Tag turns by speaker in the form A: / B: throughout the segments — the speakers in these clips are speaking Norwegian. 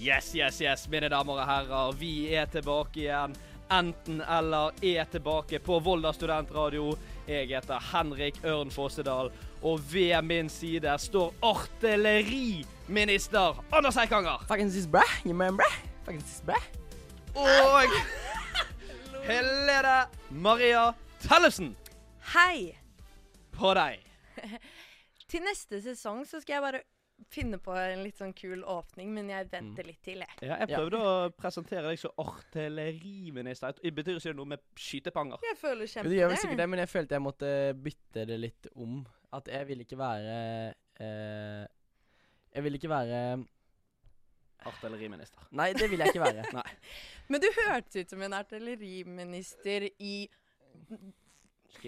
A: Yes, yes, yes, mine damer og herrer. Vi er tilbake igjen. Enten eller er tilbake på Volda studentradio. Jeg heter Henrik Ørn Fossedal, og ved min side står artilleriminister Anders Eikanger.
B: Fucking this bra, you man bra. Fucking this bra.
A: Og Helene Maria Tellefsen.
C: Hei!
A: På deg.
C: Til neste sesong så skal jeg bare finne på en litt sånn kul åpning, men jeg
B: Mm.
C: venter litt til, jeg.
A: Ja, jeg prøvde å presentere deg som artilleriminister. Det Betyr ikke det noe med skytepanger?
C: Jeg føler
B: Jo, det gjør vel
C: kjempe
B: sikkert det, men jeg følte jeg måtte bytte det litt om. At jeg vil ikke være eh, Jeg vil ikke være
A: Artilleriminister.
B: Nei, det vil jeg ikke være.
C: Men du hørtes ut som en artilleriminister i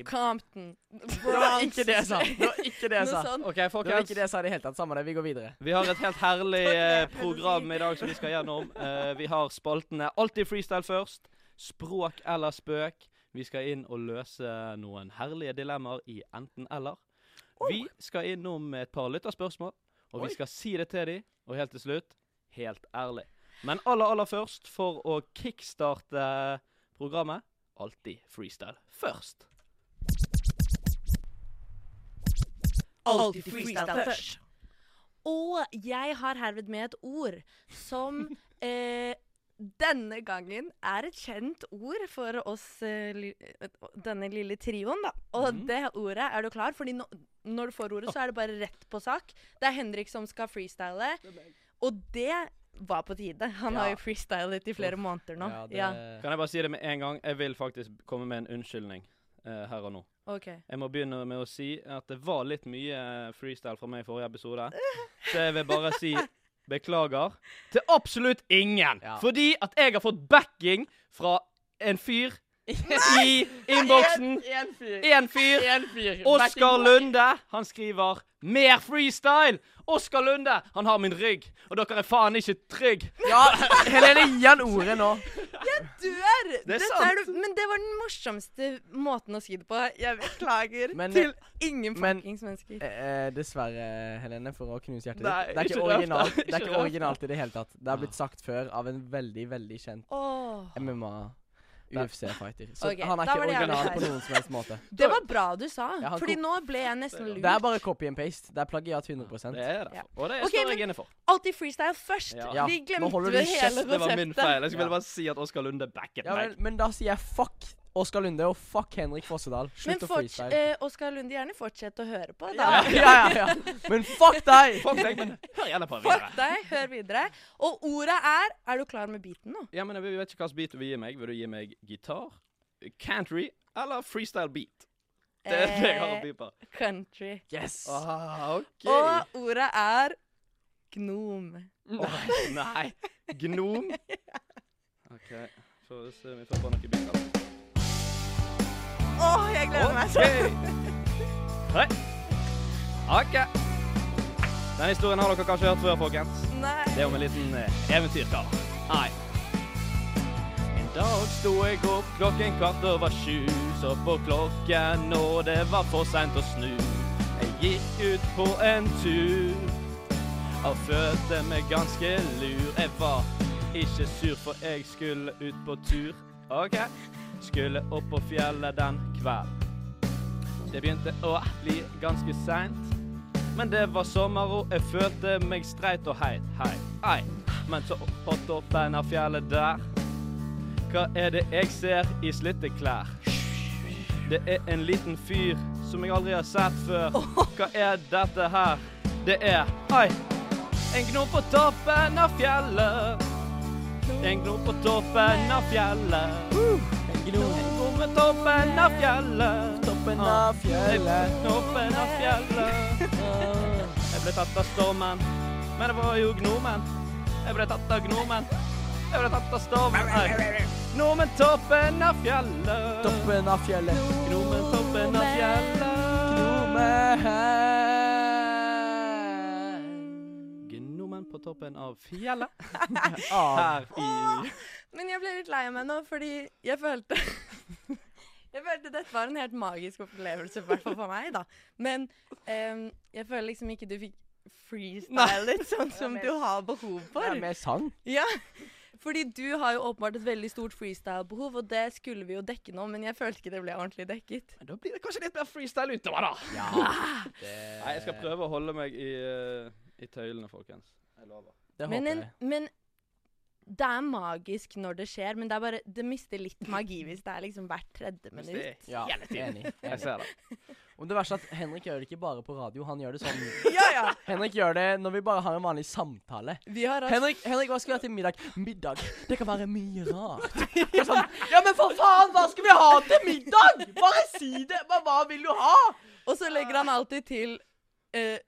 C: Compton.
B: Det var ikke det jeg sa. Det var ikke det jeg
C: Noe
B: sa.
C: sånt.
A: OK,
B: Det var
A: folkens.
B: ikke det jeg sa i det hele tatt. Samme det, vi går videre.
A: Vi har et helt herlig eh,
C: Takk, jeg prøvde å
A: program
C: si.
A: i dag som vi skal gjennom. Eh, vi har spaltene Alltid freestyle først, Språk eller spøk. Vi skal inn og løse noen herlige dilemmaer i enten-eller. Vi skal innom et par lytterspørsmål, og vi skal si det til dem. Og helt til slutt helt ærlig. Men aller, aller først, for å kickstarte programmet, alltid freestyle først.
C: Alltid freestyle først. Og jeg har herved med et ord som eh, denne gangen er et kjent ord for oss, eh, li, eh, denne lille trioen, da. Og det ordet, er du klar? Fordi nå- når du får ordet, så er det bare rett på sak. Det er Henrik som skal freestyle, og det var på tide. Han har
B: Ja.
C: jo freestylet i flere måneder nå.
B: Ja, det-
C: Ja,
A: Kan jeg bare si det med en gang? Jeg vil faktisk komme med en unnskyldning eh, her og nå.
C: ok.
A: Jeg må begynne med å si at det var litt mye eh, freestyle fra meg i forrige episode. Så jeg vil bare si beklager til absolutt ingen.
B: Ja.
A: Fordi at jeg har fått backing fra en fyr i innboksen.
B: Én fyr.
A: En fyr.
B: Én fyr.
A: Oskar Lunde. Han skriver 'mer freestyle'. Oskar Lunde, han har min rygg. Og dere er faen ikke trygg.
B: Ja, Helene, gi han ordet nå.
C: dør!
A: Det er
C: Dette
A: sant.
C: du- men det var den morsomste måten å si det på. Jeg beklager
B: Men-
C: til ingen
B: men-
C: fuckings mennesker.
B: Eh, eh, dessverre, Helene, for å knuse hjertet
A: Nei,
B: ditt. Det er
A: ikke
B: ikke
A: røft, da.
B: originalt, det
A: Ikke
B: er
A: røft,
B: ikke
A: da.
B: originalt i det hele tatt. Det er blitt sagt før av en veldig, veldig kjent
C: Åh.
B: MMA UFC-fighter. Så
C: Ok,
B: han er
C: da
B: ikke
C: var det jævlig
B: original på
C: feil.
B: noen som helst måte.
C: Det var bra du sa,
B: Ja, han
C: Fordi
B: kom-
C: nå ble jeg nesten
A: Det
C: lurt.
B: Det er bare copy and paste. Det er plagiat 100
A: Det er det.
C: Ja.
A: Og det
C: Ok,
A: står
C: men-
A: jeg inne for.
C: Alltid freestyle først.
A: Ja.
B: Ja,
C: Vi
B: nå
C: glemte
B: holder
C: vel
B: du
C: hele
B: kjeft,
A: Det var min feil. Jeg skulle
B: Ja.
A: bare si at Oskar Lunde backet
B: Ja vel,
A: meg.
B: men da sier jeg fuck Oskar Lunde og fuck Henrik Fossedal.
C: Men
B: Slutt å
C: forts
B: freestyle.
C: eh, Oskar Lunde, gjerne fortsett å høre på. Da.
B: Ja, ja, ja, ja. Men fuck deg!
A: Fuck deg, men hør gjerne på
C: Fuck
A: videre.
C: deg, hør videre. Og ordet er Er du klar med beaten nå?
A: Ja, men jeg vet ikke hvilken beat du vil gi meg. Vil du gi meg gitar, country eller freestyle beat? Det er det jeg har å by på.
C: Eh, country.
B: Yes!
A: Ah, OK.
C: Og ordet er gnom.
A: Åh, nei. Gnom. OK, får vi se om vi får på noen beat. da.
C: Åh, jeg gleder meg
A: OK.
C: sånn.
A: Hei. OK. Den historien har dere kanskje hørt før, folkens.
C: Nei.
A: Det er om en liten eh, eventyrkar. Nei. En dag sto jeg opp klokken kvart over sju. Så på klokken, og det var for seint å snu. Jeg gikk ut på en tur og følte meg ganske lur. Jeg var ikke sur, for jeg skulle ut på tur. OK. Skulle opp på fjellet den kvelden. Det begynte å bli ganske seint. Men det var sommer og jeg følte meg streit og heit, hei, hei. Men så på toppen av fjellet der, hva er det jeg ser i slitte klær? Det er en liten fyr som jeg aldri har sett før. Hva er dette her? Det er, hei, en gnom på toppen av fjellet. En gnom på toppen av fjellet. En gnom på toppen av fjellet. Ah.
B: Toppen av fjellet.
A: Toppen av fjellet. Jeg ble tatt av stormen, men det var jo gnomen. Jeg ble tatt av gnomen. Jeg ble tatt av stormen. Nei. Gnomen toppen av fjellet.
B: Toppen av fjellet.
A: Gnomen toppen av fjellet.
B: Gnomen.
A: Gnomen på toppen av fjellet.
B: Av
A: Her i
C: Men jeg ble litt lei meg nå, fordi jeg følte Jeg følte dette var en helt magisk opplevelse, i hvert fall for meg, da. Men ehm, jeg føler liksom ikke du fikk freestyle litt, sånn som
D: men-
C: du har behov
B: Det
C: for.
B: er mer sang.
C: Ja, fordi du har jo åpenbart et veldig stort freestyle-behov, og det skulle vi jo dekke nå, men jeg følte ikke det ble ordentlig dekket.
A: Men da blir det kanskje litt mer freestyle utover, da.
B: Ja.
A: Nei, jeg skal prøve å holde meg i, eh, i tøylene, folkens. Jeg lover.
B: Det
C: Men,
B: håper
C: en,
B: jeg.
C: men det er magisk når det skjer, men det er bare Det mister litt magi hvis det er liksom hvert tredje
A: Hvis det
C: minutt.
A: er
B: Ja,
A: hele tiden.
B: enig.
A: Jeg
B: enig.
A: ser det.
B: Om det verste er at Henrik gjør det ikke bare på radio, han gjør det sånn.
C: Ja, ja.
B: Henrik gjør det når vi bare har en vanlig samtale.
C: Vi har hatt
B: Henrik, Henrik, hva skal vi ha til middag? Middag? Det kan være mye rart. Det er Sånn, ja, men for faen, hva skal vi ha til middag? Bare si det! Hva, hva vil du ha?
C: Og så legger
A: Ah.
C: han alltid til eh,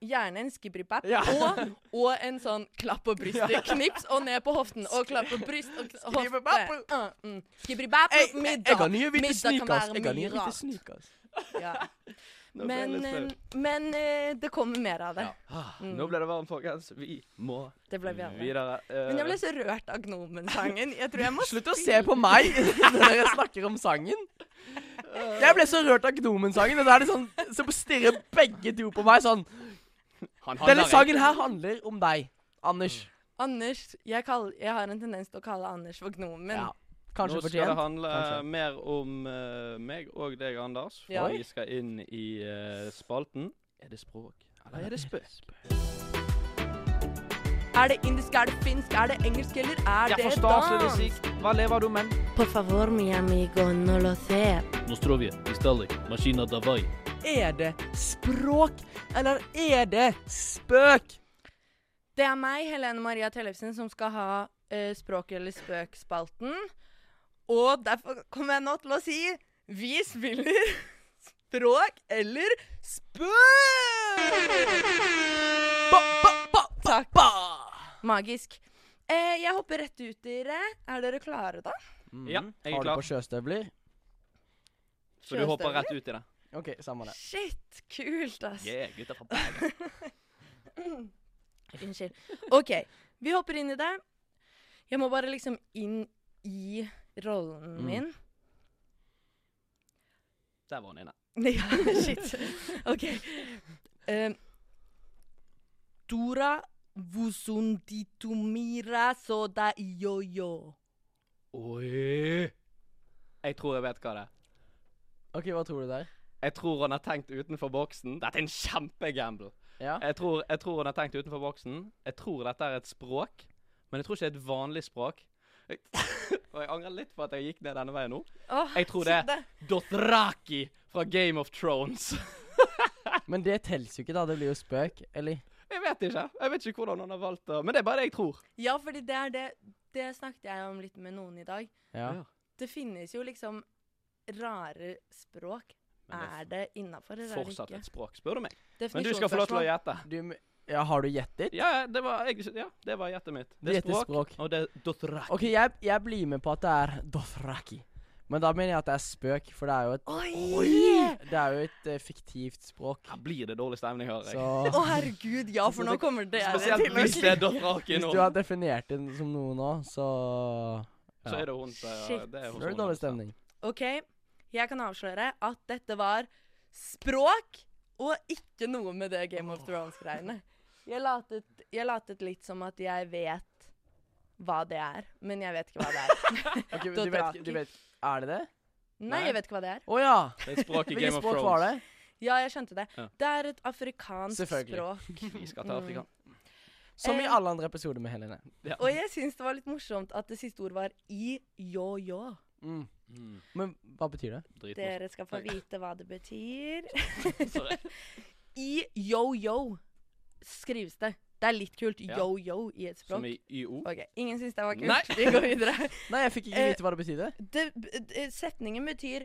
C: gjerne en skibri-pap
B: Ja.
C: og, og en sånn klapp på brystet. Knips og ned på hoften og klapp på bryst og kn- hofte.
B: Skibri-bap.
C: Uh, mm. Skibri-bap,
B: Jeg, jeg, jeg
C: middag.
B: kan nye hvite
C: Middag kan
B: sneakers.
C: være
B: Jeg kan nye
C: mye
B: hvite
C: rart.
B: sneakers.
C: Ja.
A: Nå ble jeg
C: Men,
A: litt flau.
C: eh, men eh, det kommer mer av det.
A: Ah,
C: Mm.
A: Nå ble det varmt, folkens. Vi må
C: Det ble vi alle.
A: videre. Eh,
C: Men jeg ble så rørt av Gnomen-sangen. Jeg tror jeg må
B: Slutt å se på meg når dere snakker om sangen. Jeg ble så rørt av Gnomen-sangen. og Da er det sånn, så stirrer begge to på meg sånn.
A: han
B: Denne
A: handler
B: sangen her handler om deg, Anders.
C: Anders, jeg, kall- jeg har en tendens til å kalle Anders for Gnomen.
B: Ja,
A: Nå
B: kanskje
A: skal det
B: fortjent.
A: handle
B: Kanskje.
A: mer om eh, meg og deg, Anders. For
C: Ja.
A: vi skal inn i eh, spalten Er det språk, eller er det spøk?
C: Er det indisk, er det finsk, er det engelsk, eller er
A: Jeg
C: det
A: forstår ikke
C: dans?
A: musikk. Hva lever du med?
C: Por favor, mi amigo, no lo sé.
A: Nostrovje, Istalik, Maskina Davai.
B: Er det språk, eller er det spøk?
C: Det er meg, Helene Maria Tellefsen, som skal ha eh, Språk eller spøk-spalten. Og derfor kommer jeg nå til å si Vi spiller språk eller spøk!
B: Takk.
C: Magisk. Eh, jeg hopper rett ut, dere. Er dere klare, da?
B: Mhm.
A: Ja, jeg er
B: Har du
A: klar.
B: på sjøstøvler?
A: Så du hopper rett ut i det?
B: OK, samme det.
C: Shit, kult, ass.
A: Yeah, gutta fra Bergen.
C: Unnskyld. OK, vi hopper inn i det. Jeg må bare liksom inn i rollen
B: Mm.
C: min.
A: Der var han inne.
C: Nei, shit. OK. Eh, Dora vusunditumira soda iyoyo.
A: Oi. Jeg tror jeg vet hva det er.
B: OK, hva tror du der?
A: Jeg tror han har tenkt utenfor boksen. Dette er en kjempegamble.
B: Ja.
A: Jeg tror, jeg tror han har tenkt utenfor boksen. Jeg tror dette er et språk, men jeg tror ikke det er et vanlig språk. Jeg, og jeg angrer litt på at jeg gikk ned denne veien nå.
C: Åh,
A: Jeg tror det
C: shit,
A: er Dothraki fra Game of Thrones. Eh.
B: Men det teller jo ikke, da. Det blir jo spøk, eller?
A: Jeg vet ikke. Jeg vet ikke hvordan han har valgt det, men det er bare det jeg tror.
C: Ja, fordi det er det Det snakket jeg om litt med noen i dag.
B: Ja.
A: Ja.
C: Det finnes jo liksom rare språk. Er
A: Men
C: det innafor,
A: det
C: eller
A: er
C: er det
A: fortsatt
C: ikke?
A: et språk, spør du meg. Men du skal få lov til å
C: Definisjonsspørsmål.
A: gjette.
B: Du, m- ja, har du gjett ditt?
A: Ja, ja, det var, jeg, ja, det var gjettet mitt. Det er
B: Gjettet
A: språk,
B: språk.
A: og det er Dothraki.
B: OK, jeg, jeg blir med på at det er dothraki. Men da mener jeg at det er spøk, for det er jo et
C: Oi!
B: Det er jo et eh, fiktivt språk.
A: Her blir det dårlig stemning, hører
B: Så
A: jeg.
C: Å, herregud, ja, for nå kommer det
A: Spesielt
C: til å
A: hvis det er
C: klikke.
A: Dothraki
B: hvis
A: nå,
B: du har definert det som noe nå, så
A: så er det hun
C: Shit.
A: det er
B: så
A: hos
B: er det
A: hun.
B: dårlig stemning.
C: OK, jeg kan avsløre at dette var språk og ikke noe med det Game of Thrones-greiene. Jeg, latet- jeg latet litt som at jeg vet hva det er, men jeg vet ikke hva det er.
B: Ok, du vet, ikke- du
C: Dothraki.
B: vet, er det det?
C: Nei, jeg vet ikke hva det er.
B: Å ja!
A: Det er språk i
B: Hvilket
A: Game of
B: språk var det?
A: Thrones.
C: Ja, jeg skjønte det.
A: Ja.
C: Det er et afrikansk
B: Selvfølgelig.
C: språk.
A: Vi skal til Afrika.
B: Som i
C: Eh,
B: alle andre episoder med Helene.
A: Ja.
C: Og jeg syns det var litt morsomt at det siste ord var i yo-yo.
B: Mm.
A: Mm,
B: Men hva betyr det?
A: Dritmorsomt.
C: Dere skal få
A: Nei.
C: vite hva det betyr.
A: Sorry.
C: I yo-yo skrives det. Det er litt kult.
A: Ja.
C: Yo-yo i et
A: Som
C: språk.
A: i YO.
C: Ok, Ingen syns det var kult.
A: Nei.
C: Vi går videre.
B: Nei, jeg fikk ikke
C: Eh,
B: vite hva det betydde.
C: Det, eh, setningen betyr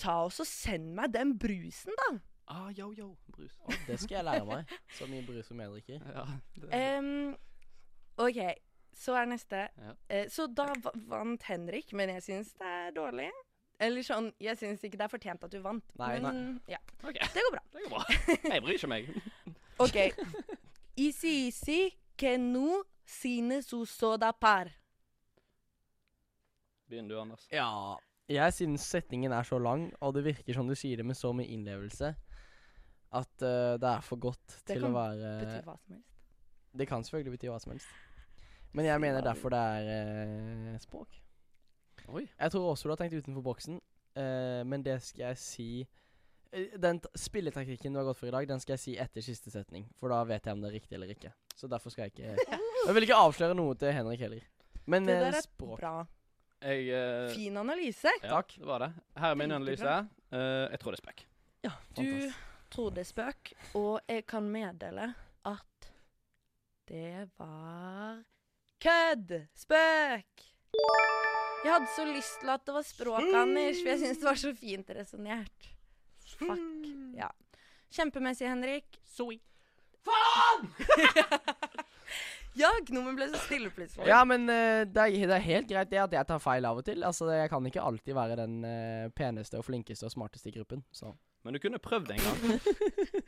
C: Ta og så send meg den brusen, da.
A: Ah, yo, yo. Brus.
B: Det skal jeg lære meg. Så mye brus som jeg drikker.
A: Ja, det er
C: Em, OK, så er neste.
A: Ja.
C: Eh, så da va- vant Henrik, men jeg syns det er dårlig. Eller sånn, jeg syns ikke det er fortjent at du vant.
B: Nei,
C: men Ja,
A: OK,
C: det går bra.
A: det går bra. Jeg bryr ikke meg.
C: OK. Isi isi kenu sine susoda par.
A: Begynn du, Anders.
B: Ja. Jeg synes setningen er så lang, og det virker som du sier det med så mye innlevelse, At eh, det er for godt
C: Det
B: til å
C: kan
B: være
C: Betyr hva som helst.
B: Det kan selvfølgelig bety hva som helst. Men jeg mener derfor det er eh, språk.
A: Oi.
B: Jeg tror også du har tenkt utenfor boksen, eh, men det skal jeg si eh, Den t- spilletaktikken du har gått for i dag, den skal jeg si etter siste setning. For da vet jeg om det er riktig eller ikke. Så derfor skal jeg ikke Jeg vil ikke avsløre noe til Henrik heller. Men
C: Det
B: eh,
C: der er
B: språk
C: bra.
A: Jeg eh,
C: Fin analyse.
A: ja,
B: Takk.
A: Det var det. Her er min
C: Veldig
A: analyse.
C: bra.
A: Eh, jeg tror det er spekk.
B: ja,
C: Du
B: fantastisk.
C: tror det er spøk, og jeg kan meddele at det var kødd! Spøk! Jeg hadde så lyst til at det var språk, Anders, for jeg syns det var så fint resonnert. Fuck.
A: Mm.
C: Ja. Kjempemessig, Henrik.
A: Sweet.
C: Ja, gnomen ble så stille plutselig.
B: Ja, men eh, det, er, det er helt greit det at jeg tar feil av og til. Altså, Jeg kan ikke alltid være den eh, peneste og flinkeste og smarteste i gruppen. Så.
A: Men du kunne prøvd en gang.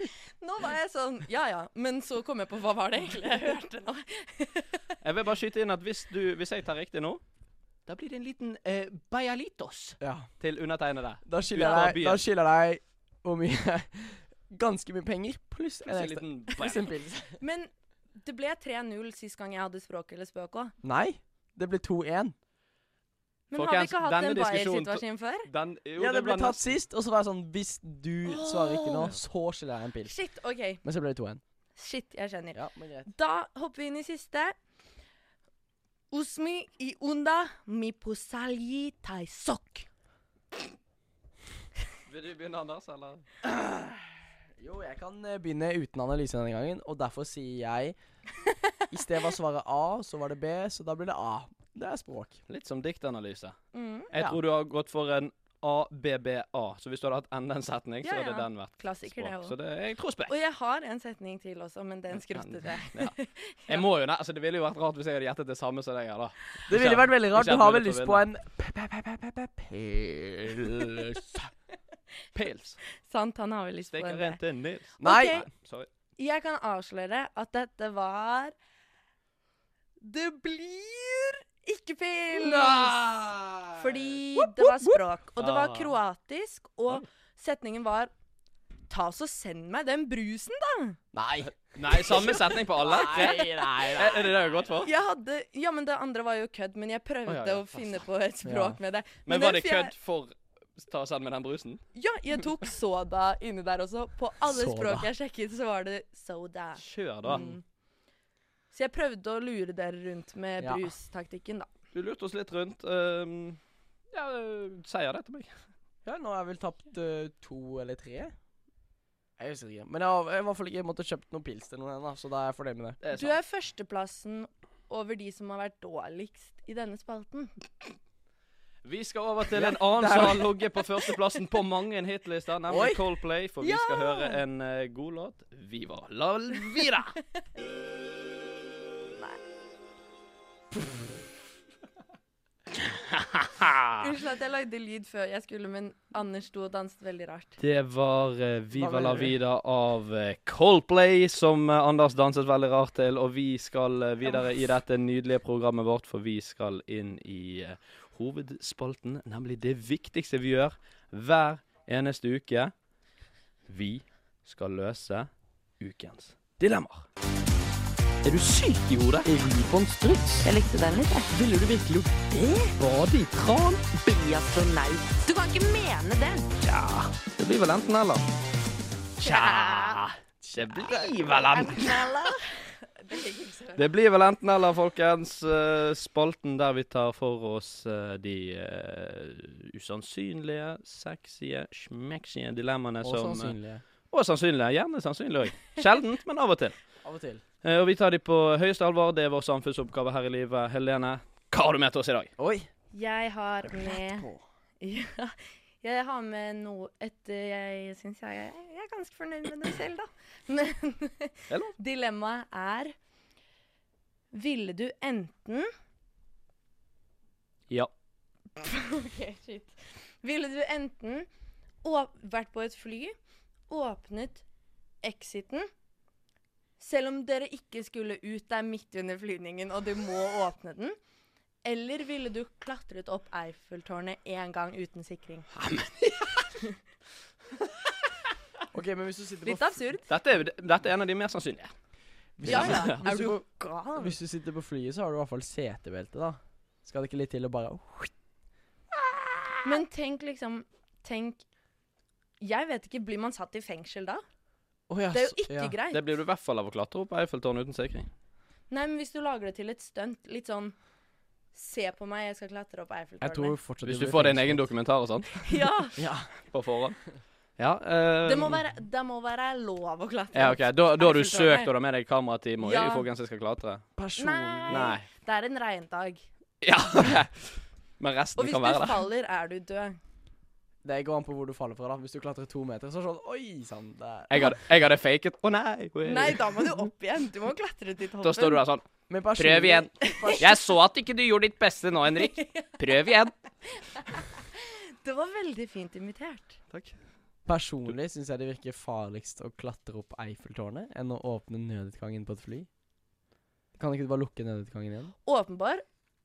C: Nå var jeg sånn Ja ja, men så kom jeg på hva var det egentlig jeg hørte nå?
A: Jeg vil bare skyte inn at hvis, du, hvis jeg tar riktig nå, da blir det en liten eh, bajalitos
B: Ja.
A: til undertegnede.
B: Da skylder
A: Utenfor
B: jeg deg, da
A: byen.
B: skylder jeg deg hvor mye Ganske mye penger pluss en
A: En
B: ekstra.
A: liten
B: Pluss en pils.
C: Men det ble 3-0 sist gang jeg hadde språk eller spøk òg.
B: Nei, det ble 2-1.
C: Men har vi
A: Folkens,
C: ikke hatt
A: denne
C: en
A: diskusjonen-
C: Bayer-situasjon før?
A: Den, jo,
B: Ja, det
A: den
B: ble
A: blandes-
B: tatt sist, og så var jeg sånn Hvis du svarer riktig nå,
C: Åh.
B: så skylder jeg deg en pils.
C: Shit, OK.
B: Men så ble det 2-1.
C: Shit, jeg skjønner.
B: Ja, men greit.
C: Da hopper vi inn i siste. Usmi i unda mi posalji tai sok.
A: Vil du begynne, Anders, eller?
B: Jo, jeg kan eh, begynne uten analyse denne gangen, og derfor sier jeg I stedet var svaret A, så var det B, så da blir det A. Det er språk.
A: Litt som diktanalyse.
C: Mm.
A: Jeg
B: Ja.
A: tror du har gått for en ABBA. Så hvis du hadde hatt enda en setning, så
C: Ja,
A: hadde
C: ja.
A: den vært
C: Klassiker, det
A: språk. Så
C: òg.
A: det, jeg tror spekk.
C: Og jeg har en setning til også, men den skrottet jeg.
A: Jeg må jo, ne- altså Det ville jo vært rart hvis jeg hadde gjettet det samme som deg. her da.
B: Det ville vært veldig rart.
A: Ikke
B: Du har
A: at
B: vel
A: vi
B: lyst på en Pils.
A: Pils.
C: Sant, han har vel lyst på
A: Stikker
C: en
A: rent
C: det.
A: til Nils.
B: Nei.
C: Ok.
A: Sorry.
C: Jeg kan avsløre at dette var Det blir ikke pils! Fordi
A: Eh,
C: det var språk. Og det var
A: Ah.
C: kroatisk, og setningen var Ta så send meg den brusen, da!
B: Nei.
A: Nei, samme setning på alle?
B: Nei, nei, nei.
A: Er er det det du har gått for?
C: Jeg hadde, ja, men Det andre var jo kødd, men jeg prøvde
A: Å, ja, ja,
C: å finne på et språk med det.
A: Men var
C: den
A: det
C: fjer-
A: kødd for ta oss an med den brusen?
C: Ja, jeg tok soda inni der også. På alle
B: Soda.
C: språk jeg sjekket, så var det soda.
A: Kjør, da.
C: Mm. Så jeg prøvde å lure dere rundt med
B: Ja.
C: brustaktikken, da.
A: Du lurte oss litt rundt. ehm, ja, øh, sier det til meg.
B: Ja, nå har jeg vel tapt eh, to eller tre. Jeg husker ikke. Men jeg har jeg har i hvert fall ikke måttet kjøpt noen pils til noen ennå, så da er jeg fornøyd med det.
A: Det er
C: Du
A: sant.
C: er førsteplassen over de som har vært dårligst i denne spalten.
A: Vi skal over til en
B: det
A: annen
B: er
A: som
B: jo-
A: har ligget på førsteplassen på mange en hitlister, nemlig
B: Oi.
A: Coldplay, for vi
C: Ja.
A: skal høre en eh, god låt. Viva la vida!
C: Unnskyld at jeg lagde lyd før jeg skulle, men Anders sto og danset veldig rart.
A: Det var eh,
B: Hva
A: Viva
B: mener
A: la
B: du?
A: vida av eh, Coldplay, som eh, Anders danset veldig rart til. Og vi skal eh, videre i dette nydelige programmet vårt, for vi skal inn i eh, hovedspalten, nemlig det viktigste vi gjør hver eneste uke. Vi skal løse ukens dilemmaer. Er du syk i hodet? Ribonstruts?
C: Jeg likte den litt, jeg.
A: Ville du virkelig gjort det? Bade i tran?
C: Bli astronaut. Du kan ikke mene det!
A: Tja. Det blir vel enten eller. Tja. Det blir vel enten.
C: Det ligger ikke så høyt.
A: Det blir vel enten eller, folkens. Eh, Spalten der vi tar for oss eh, de eh, usannsynlige, sexy, smeksige dilemmaene
B: Og
A: som
B: sannsynlige.
A: Og sannsynlige. Gjerne sannsynlige òg. Sjeldent, men av og til.
B: Av og til.
A: Eh, Og vi tar de på høyeste alvor. Det er vår samfunnsoppgave her i livet. Helene, hva har du med til oss i dag?
B: Oi.
C: Jeg har med
B: på.
C: ja, Jeg har med noe et eh, Jeg syns jeg, jeg er ganske fornøyd med det selv, da.
A: er
C: Men
A: lov.
C: dilemmaet er Ville du enten
A: Ja.
C: OK, shit. Ville du enten åp vært på et fly, åpnet exiten selv om dere ikke skulle ut der midt under flyvningen, og du må åpne den? Eller ville du klatret opp Eiffeltårnet én gang uten sikring?
B: OK, men hvis du sitter på
C: Litt absurd.
A: Dette er, dette er en av de mer sannsynlige.
B: hvis du
C: Ja,
B: sitter-
C: ja.
B: Hvis du,
C: Er du
B: på-
C: gal?
B: hvis du sitter på flyet, så har du i hvert fall setebelte, da. Skal det ikke litt til å bare
C: Men tenk liksom Tenk Jeg vet ikke, blir man satt i fengsel da?
B: Å, ja,
C: Det er jo
B: så-
C: ikke
B: Altså, ja.
C: greit.
A: Det blir du i hvert fall av å klatre opp Eiffeltårnet uten sikring.
C: Nei, men hvis du lager det til et stunt, litt sånn Se på meg, jeg skal klatre opp
B: Jeg tror
C: Eiffeltårnet.
B: fortsatt
A: Hvis du
B: det blir
A: får din egen
B: fengslet.
A: dokumentar og sånt
C: Ja,
B: Ja.
A: på forhånd. Ja, eh,
C: det må, være, det må være lov å klatre.
A: ja,
C: opp.
A: ok. Da, da har du
C: Eiffeltårnet.
A: søkt og du har med deg kameratime og
C: Ja.
A: ja. folkens, jeg skal klatre.
B: Person
C: Nei.
A: Nei.
C: Det er en regndag.
A: Ja, ok. Men
C: Og
A: resten
C: hvis
A: kan være
C: du
A: der.
C: faller, er du død.
B: Det går an på hvor du faller fra, da. Hvis du klatrer to meter, så er det sånn Oi sann, der.
A: Jeg hadde, jeg hadde faket Å nei!
C: Nei, da må du opp igjen. Du må klatre til toppen.
A: Da står du der sånn.
B: Men personlig-
A: Prøv igjen. Jeg så at ikke du gjorde ditt beste nå, Henrik. Prøv igjen.
C: Det var veldig fint invitert.
A: Takk.
B: Personlig syns jeg det virker farligst å klatre opp Eiffeltårnet enn å åpne nødutgangen på et fly. Kan ikke du bare lukke nødutgangen igjen?
C: Åpenbar.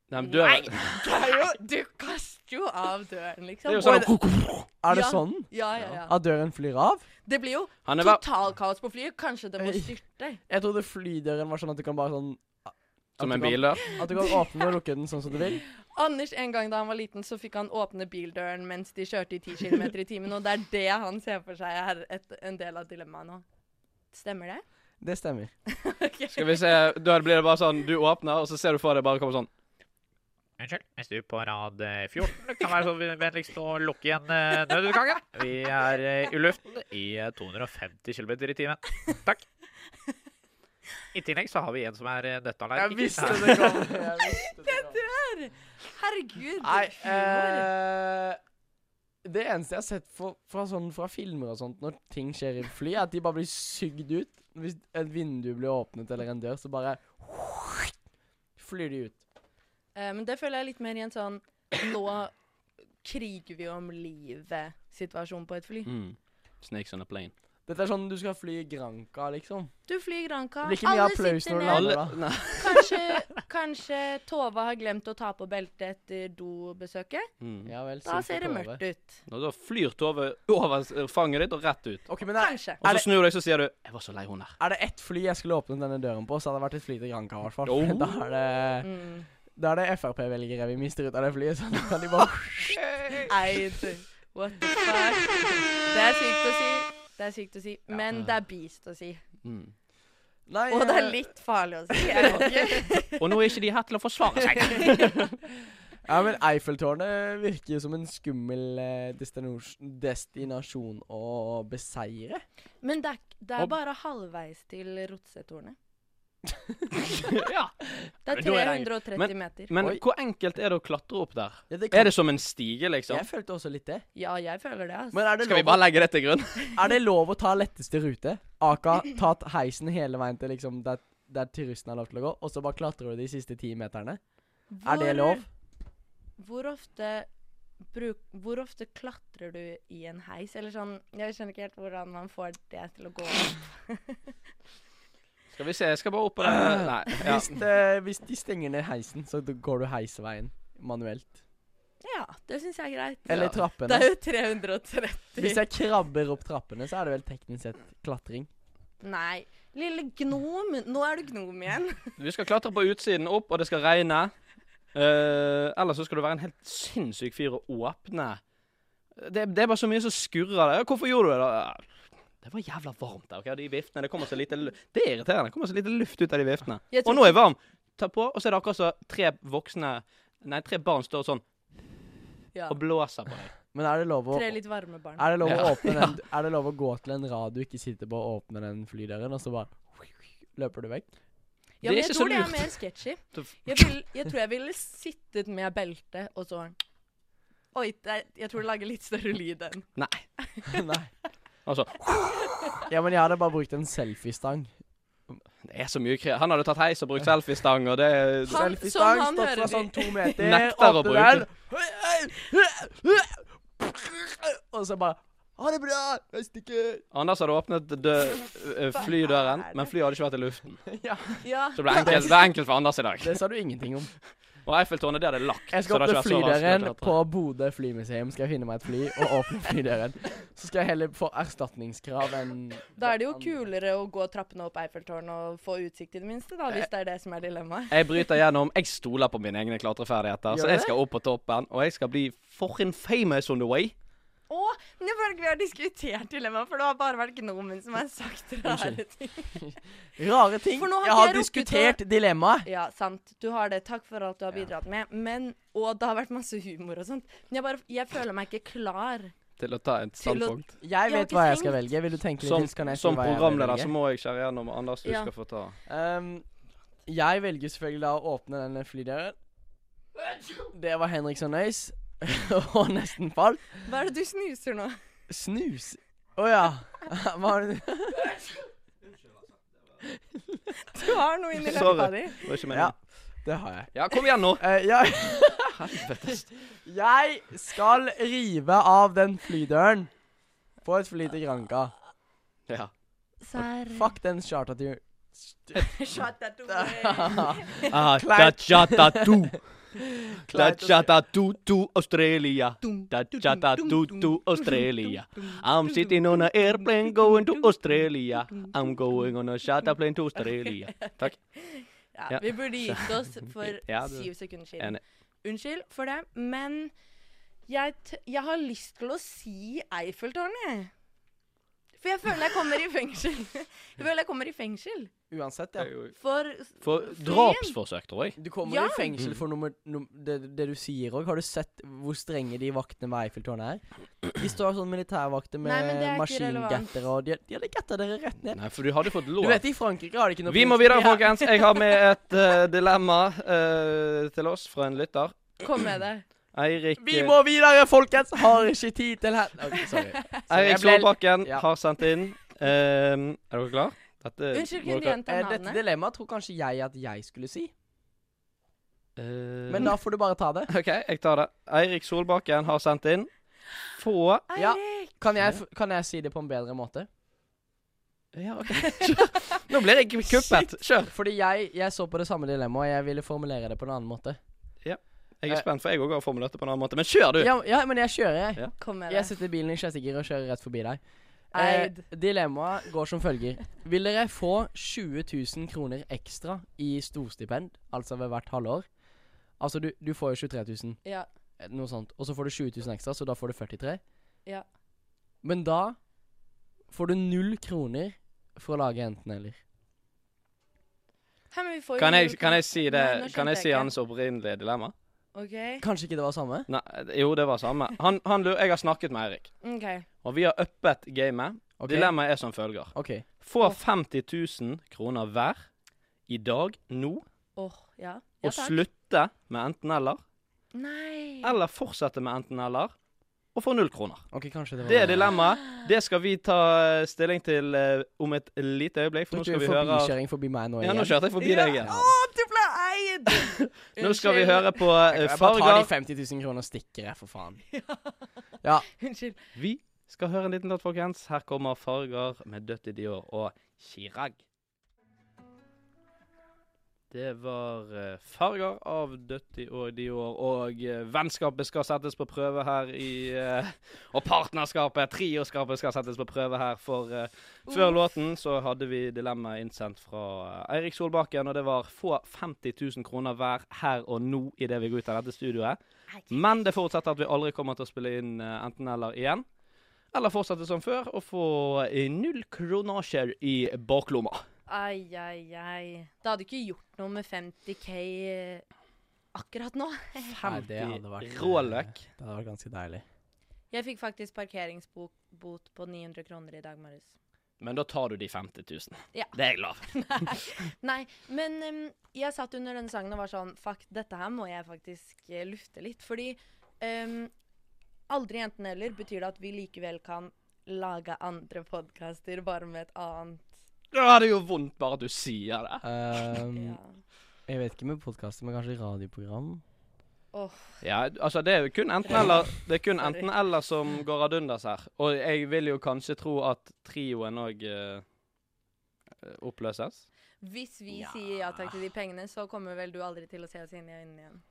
A: Nei, men døren-
C: det er jo Du kaster jo av døren,
A: Det
C: liksom.
A: er jo
C: Og-
A: sånn
B: Er det
C: Ja.
B: sånn?
C: Ja, ja, ja.
B: At døren flyr av?
C: Det blir jo
A: Han er bare
C: totalkaos på flyet. Kanskje det
B: Oi.
C: må styrte.
B: Jeg trodde flydøren var sånn at du kan bare sånn at
A: som
B: du
A: en
B: kan-
A: bildør.
B: At du kan åpne og lukke den sånn som du vil.
C: Anders, en gang da han var liten, så fikk han åpne bildøren mens de kjørte i 10 km i timen, og det er det han ser for seg er et, en del av dilemmaet nå. Stemmer det?
B: Det stemmer.
C: Ok.
A: Skal vi se, Da blir det bare sånn Du åpner, og så ser du for deg bare kommer sånn
D: Unnskyld, jeg sto på rad eh, 14. Kan være så vennligst å lukke igjen eh, nødutgangen. Vi er eh, i luften i eh, 250 km i timen. Takk. I tillegg så har vi en som er eh, nøtteallergiker.
B: det kom. Jeg visste det kom.
C: Dør! Herregud.
B: Nei
C: humor.
B: eh, Det eneste jeg har sett fra, fra, sånn, fra filmer og sånt når ting skjer i fly, er at de bare blir sugd ut. Hvis et vindu blir åpnet eller en dør, så bare flyr de ut.
C: Eh, men det føler jeg litt mer i en sånn Nå kriger vi om livet-situasjon på et fly.
A: mm. Snakes on a plane.
B: Dette er sånn du skal fly i Granca, liksom.
C: Du flyr Granka.
B: Det blir ikke mye
C: Alle
B: applaus
C: sitter
B: når du
C: ned.
B: lander,
A: Alle,
B: da.
A: nei.
C: Kanskje, kanskje Tova har glemt å ta på beltet etter dobesøket?
A: Mm.
B: Ja vel,
C: Da
B: sinte
C: ser det
B: tårer.
C: mørkt ut.
A: Og da flyr Tove over s- fanget ditt og rett ut.
B: Ok, men er,
C: Kanskje.
A: Og
B: Er
A: så
B: det-
A: snur du deg, så sier du 'Jeg var så lei hun der'.
B: er det ett fly jeg skulle åpnet denne døren på, så hadde det vært et fly til Granca, i hvert fall.
A: Oh.
B: Da er det
C: Mm.
B: Da er det Frp-velgere vi mister ut av det flyet. Så da kan de bare
C: Eid. What the fuck? Det er sykt å si. Det er sykt å si. Men det er beast å si.
A: Mm.
B: Nei,
C: Og det er
B: eh,
C: litt farlig å si. Jeg må ikke.
A: Og nå er ikke de her til å forsvare seg.
B: Ja, men Eiffeltårnet virker jo som en skummel eh, destinos- destinasjon å beseire.
C: Men det er, det
A: Og-
C: er bare halvveis til Rotsetornet.
A: ja.
C: Det er
A: Men da er det
C: 330
A: Men-
C: meter.
A: Men
B: Oi.
A: hvor enkelt er det å klatre opp der?
B: Ja, det
A: Er det som en stige, liksom?
B: Jeg følte også litt det.
C: Ja, jeg føler det, altså.
B: Men er det,
A: Skal vi
B: lov,
A: bare legge det til grunn?
B: er det lov å ta letteste rute? Aka tatt heisen hele veien til liksom der, der turistene har lov til å gå, og så bare klatrer du de siste ti meterne?
C: Hvor,
B: Er det lov?
C: Hvor ofte bruk, hvor ofte klatrer du i en heis? Eller sånn Jeg skjønner ikke helt hvordan man får det til å gå opp.
A: Skal vi se, jeg skal bare opp på den Nei. Ja.
B: Hvis, eh, hvis de stenger ned heisen, så d- går du heisveien manuelt.
C: Ja, det syns jeg er greit.
B: Eller
A: Ja.
C: Det er
B: trappene.
C: jo 330
B: Hvis jeg krabber opp trappene, så er det vel teknisk sett klatring.
C: Nei. Lille gnom. Nå er du gnom igjen.
A: Vi skal klatre på utsiden opp, og det skal regne. Eh, ellers så skal du være en helt sinnssyk fyr og åpne. Det, det er bare så mye som skurrer der. Ja, Hvorfor gjorde du det? da? Det var jævla varmt der. ok? De viftene, Det kommer så lite lu- Det er irriterende. Det kommer så lite luft ut av de viftene.
C: Jeg
A: Og
C: tror
A: nå er jeg varm. Ta på, og så er det akkurat så tre voksne Nei, tre barn står sånn
C: Ja.
A: og blåser på deg.
B: Men er det lov å
C: Tre litt varme barn.
B: Er det lov, å
A: Ja.
B: åpne den, er det lov å gå til en rad du ikke sitter på, og åpne den flydøren, og så bare løper du vekk?
A: det
C: Ja,
A: er
C: men
A: ikke
C: jeg
A: så
C: tror det
A: lurt.
C: er mer sketchy.
A: Så-
C: Jeg, vil, jeg tror jeg ville sittet med belte og så Oi, det, er- jeg tror det lager litt større lyd enn
A: Nei.
B: Nei.
A: Altså,
B: Ja, men jeg hadde bare brukt en selfiestang.
A: det er så mye kre... Han hadde tatt heis og brukt selfiestang, og det
C: Han-
B: Selfiestang,
C: som han
B: stått fra
C: hører
B: sånn
C: de-
B: to meter,
A: Nekter å
B: åpne
A: bruke.
B: den Og så bare Ha det bra! Jeg stikker!
A: Anders hadde åpnet dø eh, flydøren, men flyet hadde ikke vært i luften.
C: Ja.
A: Så det ble enkelt, det ble enkelt for Anders i dag.
B: Det sa du ingenting om.
A: Og Eiffeltårnet, det er det lagt.
B: Jeg
A: så
B: skal
A: det har ikke
B: åpne
A: vært så
B: flydøren
A: vanskelig å klatre.
B: på Bodø flymuseum. Skal jeg finne meg et fly og åpne flydøren. Så skal jeg heller få erstatningskrav enn
C: Da er det jo kulere å gå trappene opp Eiffeltårnet og få utsikt, i det minste, da, hvis det er det som er dilemmaet.
A: Jeg bryter gjennom. Jeg stoler på mine egne klatreferdigheter.
B: Gjør
A: Så
B: du
A: jeg
B: det?
A: skal opp på toppen, og jeg skal bli fucking famous on the way.
C: Å, jeg føler ikke vi har diskutert dilemmaet, for det har bare vært Gnomen som har sagt rare
B: Unnskyld.
C: ting.
B: Rare ting.
C: For nå har
B: Jeg
C: ikke
B: har
C: jeg rukket
B: diskutert dilemmaet.
C: Ja, sant. Du har det. Takk for alt du har bidratt med. Men, og det har vært masse humor og sånt. Men jeg, bare, jeg føler meg ikke klar.
A: Til å ta et
C: Til å-
A: standpunkt.
B: Jeg
C: har
B: vet
C: ikke
B: hva jeg skal
C: tenkt.
B: velge. Vil du tenke litt
A: Som,
B: til, så kan jeg si
A: som
B: hva jeg vil
A: programleder
B: velge?
A: så må jeg skjære gjennom. Anders, du
C: Ja.
A: skal få ta.
B: Ehm, jeg velger selvfølgelig da å åpne denne flydøren. Det var Henrik så nøys, og nesten falt.
C: Hva er det du snuser nå?
B: Snus. Å ja. Hva var det du
C: Du har noe inni
A: Sorry.
C: leppa di.
A: Det var ikke
B: Ja,
A: meningen.
B: det har jeg.
A: Ja, kom igjen nå!
B: Eh, jeg Jeg skal rive av den flydøren på et fly til Granca.
A: Ja.
C: Serr.
B: Fuck den charterturen.
C: Shut that away.
A: Ah,
B: Klein.
A: da-tja-ta-tu.
B: Kleint å se.
A: Da-tja-ta-tu-tu, Australia.
C: Dum,
A: Da-tja-ta-tu-tu, Australia. I'm sitting on an airplane going to Australia. I'm going on a charterplane to Australia. Takk.
C: Ja,
A: Ja.
C: Vi burde gitt oss for
A: Ja, du-
C: syv sekunder siden.
A: Enig.
C: Unnskyld for det, men jeg, t jeg har lyst til å si Eiffeltårnet. jeg. For jeg føler jeg kommer i fengsel. Jeg føler jeg kommer i fengsel.
B: Uansett, ja.
C: For
A: For
C: igjen-
A: drapsforsøk, tror jeg.
B: Du kommer
C: Ja.
B: i
A: Mm.
B: fengsel for nummer, num, det, det du sier òg. Har du sett hvor strenge de vaktene ved Eiffeltårnet er? De står sånn militærvakter
C: Nei, men
B: med
C: det er ikke relevant.
B: maskingatter og de, de hadde gatta dere rett ned.
A: Nei, for du hadde fått
B: Du
A: lov.
B: vet, i Frankrike har de ikke noe
A: Vi må videre, folkens. Jeg har med et eh, dilemma eh, til oss fra en lytter.
C: Kom med det.
A: Eirik,
B: Vi må videre, folkens! Har ikke tid til her Ok, Sorry.
A: eh, Eirik
B: jeg ble-
A: Solbakken
B: Ja.
A: har sendt inn ehm, Er dere klar? Dette
C: Unnskyld,
A: må
C: kunne du
A: dere-
C: gjenta
B: Eh, dette
C: navnet?
B: dilemmaet tror kanskje jeg at jeg skulle si,
A: Ehm,
B: men da får du bare ta det.
A: OK, jeg tar det. Eirik Solbakken har sendt inn Få
B: Ja.
C: Eirik!
B: Kan jeg, f- kan jeg si det på en bedre måte?
A: Ja, OK. Nå blir jeg kuppet. Kjør.
B: Fordi jeg, jeg så på det samme dilemmaet, og jeg ville formulere det på en annen måte.
A: Jeg er
B: Eh.
A: spent, for jeg òg har formulert det på en annen måte. Men kjør, du!
B: Ja, ja men jeg kjører, jeg.
C: Kom med
B: Jeg
C: det.
B: setter bilen i sjette gir og kjører rett forbi deg. Eh,
C: Eid.
B: dilemmaet går som følger. Vil dere få 20 000 kroner ekstra i storstipend, altså ved hvert halvår? Altså, du, du får jo 23 000,
C: Ja.
B: eh, noe sånt. Og så får du 20 000 ekstra, så da får du 43
C: Ja.
B: Men da får du null kroner for å lage enten eller.
C: Hæ, men vi får jo
A: Kan jeg,
C: null-
A: kan jeg si det
C: Nei,
A: Kan
C: nå skjønte
A: jeg si
C: ikke.
A: hans opprinnelige dilemma?
C: OK.
B: Kanskje ikke det var samme?
A: Nei, jo, det var samme. Han, han, lu- jeg har snakket med Eirik,
C: ok.
A: og vi har uppet gamet.
B: Ok.
A: Dilemmaet er som følger.
B: OK.
A: Få 50 000 kroner hver i dag, nå,
C: Åh, ja. Ja
A: og Ah!
C: takk.
A: slutte med enten-eller.
C: Nei.
A: Eller fortsette med enten-eller og få null kroner.
B: Ok, kanskje det var
A: Det er dilemmaet. Det skal vi ta eh, stilling til eh, om et lite øyeblikk, for nå
B: Tok
A: skal
B: du
A: vi høre
B: forbikjøring forbi meg nå
A: Ja,
B: igjen?
A: nå kjørte jeg forbi deg igjen.
C: Å, du ble eid!
A: Nå skal vi
C: Unnskyld.
A: høre på eh,
B: Jeg bare tar de
A: farger.
B: 50 000 kroner og stikker, jeg, for faen.
C: Unnskyld.
A: Vi skal høre en liten låt, folkens. Her kommer Farger med Dødt i Dior og Chirag. Det var eh, Farger av Dødt i og Dior, og eh, vennskapet skal settes på prøve her i eh, Og partnerskapet, trioskapet, skal settes på prøve her, for eh, før låten så hadde vi dilemmaet innsendt fra eh, Eirik Solbakken, og det var få 50 000 kroner hver her og nå idet vi går ut av dette studioet. Men det forutsetter at vi aldri kommer til å spille inn eh, enten eller igjen. Eller fortsette som før og få eh, null kronasjer i baklomma.
C: Ai, ai, ai. Det hadde ikke gjort noe med 50K eh, akkurat nå.
B: Nei, det hadde vært, eh,
A: råløk.
B: Det hadde vært ganske deilig.
C: Jeg fikk faktisk parkeringsbot på 900 kroner i dag morges.
A: Men da tar du de 50 000.
C: Ja.
A: Det er jeg glad for.
C: Nei, men em, jeg satt under denne sangen og var sånn Fuck, dette her må jeg faktisk eh, lufte litt. Fordi em, aldri enten eller betyr det at vi likevel kan lage andre podkaster bare med et annet
A: Da er det jo vondt bare at du sier det.
B: Ehm,
C: ja.
B: Jeg vet ikke med podkaster, men kanskje radioprogram?
C: Åh,
A: Ja, altså det er jo kun enten eller Det er kun enten eller som går ad undas her. Og jeg vil jo kanskje tro at trioen eh, òg oppløses.
C: Hvis vi sier ja takk til de pengene, så kommer vel du aldri til å se oss inn i øynene igjen.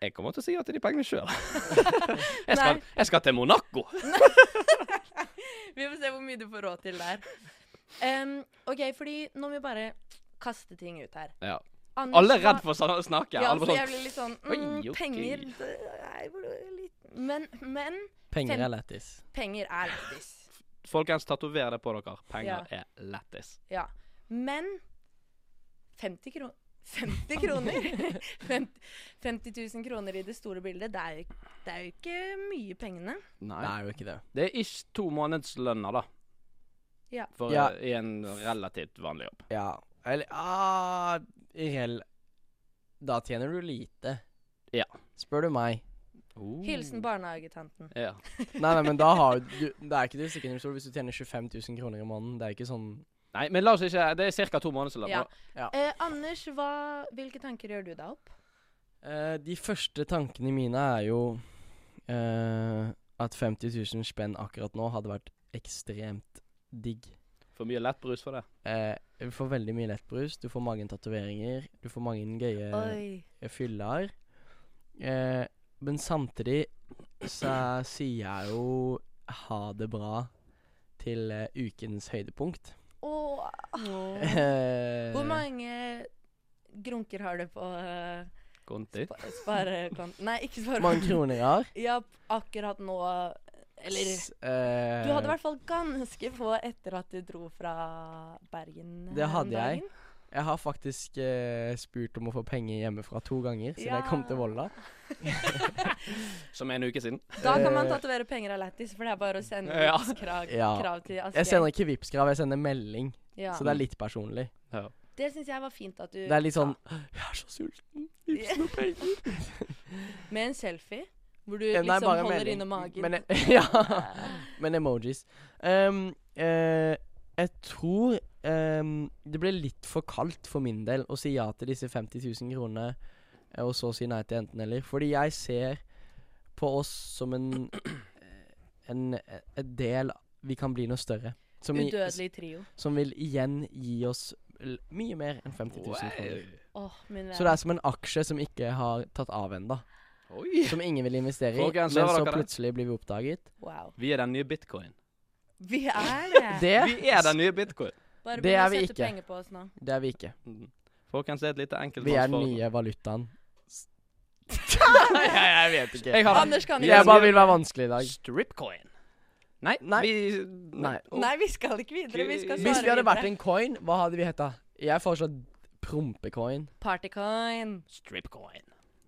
A: Jeg kommer til å si at de pengene sjøl. Jeg, skal-
C: Nei.
A: jeg skal til Monaco.
C: Vi får se hvor mye du får råd til der. Em, OK, fordi nå må vi bare kaste ting ut her.
A: Ja.
C: Anders,
A: Alle er
C: hva-
A: redd for å sna- snakke.
C: Ja,
A: Alle
C: så
A: bare
C: jeg
A: sånn,
C: blir litt sånn
A: Oi,
C: mm,
A: ok.
C: Penger det er jo litt Men, men
B: Penger
C: Fem-
B: er lættis.
C: penger er lættis.
A: Folkens, tatover det på dere. Penger er lættis.
C: Ja. Men 50 kroner 50 kroner? 50, 50 000 kroner i det store bildet, det er jo, det er jo ikke mye pengene.
A: Nei.
B: Det er jo ikke det.
A: Det er ikke to månedslønner, da.
C: Ja.
A: For
B: Ja.
A: eh, i en relativt vanlig jobb.
B: Ja. Eller ah, i reell Da tjener du lite.
A: Ja.
B: Spør du meg.
A: Oh. Uh.
C: Hilsen barnehagetanten.
A: Ja.
B: Nei, nei, men da har du Det er ikke det stikkende sol hvis du tjener 25 000 kroner i måneden. Det er ikke sånn
A: Nei, men la oss ikke Det er ca. to månedslønner.
C: Ja.
B: Ja.
C: Eh, Anders, hva, hvilke tanker gjør du deg opp?
B: Eh, De første tankene mine er jo eh, at 50 000 spenn akkurat nå hadde vært ekstremt digg.
A: For mye lettbrus for det.
B: Eh, du får veldig mye lettbrus, du får mange tatoveringer, du får
A: Eh.
B: mange gøye
C: Oi.
B: fyller. Eh, men samtidig så sier jeg jo ha det bra til eh, ukens høydepunkt.
C: Åh.
B: Eh,
C: Hvor mange grunker har du på eh,
A: Konti.
C: spa- sparekonto? Nei, ikke
B: mange
C: sparekonto.
B: kroner jeg har?
C: Ja, akkurat nå Eller
B: S- eh,
C: Du hadde i hvert fall ganske få etter at du dro fra Bergen.
B: Det
C: her om
B: hadde jeg.
C: dagen.
B: Jeg har faktisk eh, spurt om å få penger hjemmefra to ganger siden jeg kom til
C: Ja.
B: Volda.
A: Som er en uke siden.
C: Da kan man
B: Eh.
C: tatovere penger av lættis, for det er bare å sende
A: Ja.
C: ut krav,
B: Ja.
C: krav til Asgeir.
B: Jeg sender ikke Vipps-krav, jeg sender melding.
C: ja.
B: Så det er litt personlig.
C: Det syns jeg var fint at du
B: Det er litt sånn
C: sa.
B: Jeg er så sulten. Vipps noen penger.
C: Med en selfie, hvor du
B: Eh,
C: liksom
B: nei, bare
C: holder
B: melding.
C: inne magen. Ah.
B: Men, e- ja. Men emojis. Ehm, eh, jeg tror ehm, det ble litt for kaldt for min del å si ja til disse 50 000 kronene, eh, og så si nei til enten eller. Fordi jeg ser på oss som en, eh, en, en del vi kan bli noe større. Som, i-
C: Udødelig trio.
B: som vil igjen gi oss l- mye mer enn 50 000 kroner.
C: Åh, min venn.
B: Så det er som en aksje som ikke har tatt av ennå.
A: Oi.
B: Som ingen vil investere i, men
A: Folkens, hører dere
B: så
A: det?
B: plutselig blir vi oppdaget.
C: Wow.
A: Vi er den nye bitcoin.
C: Vi er det.
B: Det,
A: Vi er den nye bitcoin.
C: Bare
B: det
C: begynn
B: er
C: å
B: vi
C: sette
B: ikke.
C: penger på oss nå.
B: det er vi ikke.
A: Folkens, det er et lite
B: Vi er den
A: enkeltmannsforetak.
B: nye valutaen.
A: Nei, jeg, jeg vet ikke. Jeg har
C: Anders kan
A: Vi
C: ikke
A: er
B: Jeg bare vil være vanskelig i dag.
A: Stripcoin. Nei,
B: Nei.
A: vi
B: Nei.
C: Nei, vi skal ikke videre. Vi skal
B: Hvis
C: svare
B: vi hadde vært
C: videre.
B: en coin, hva hadde vi hetta? Jeg foreslår prompecoin.
C: Partycoin.
A: Stripcoin.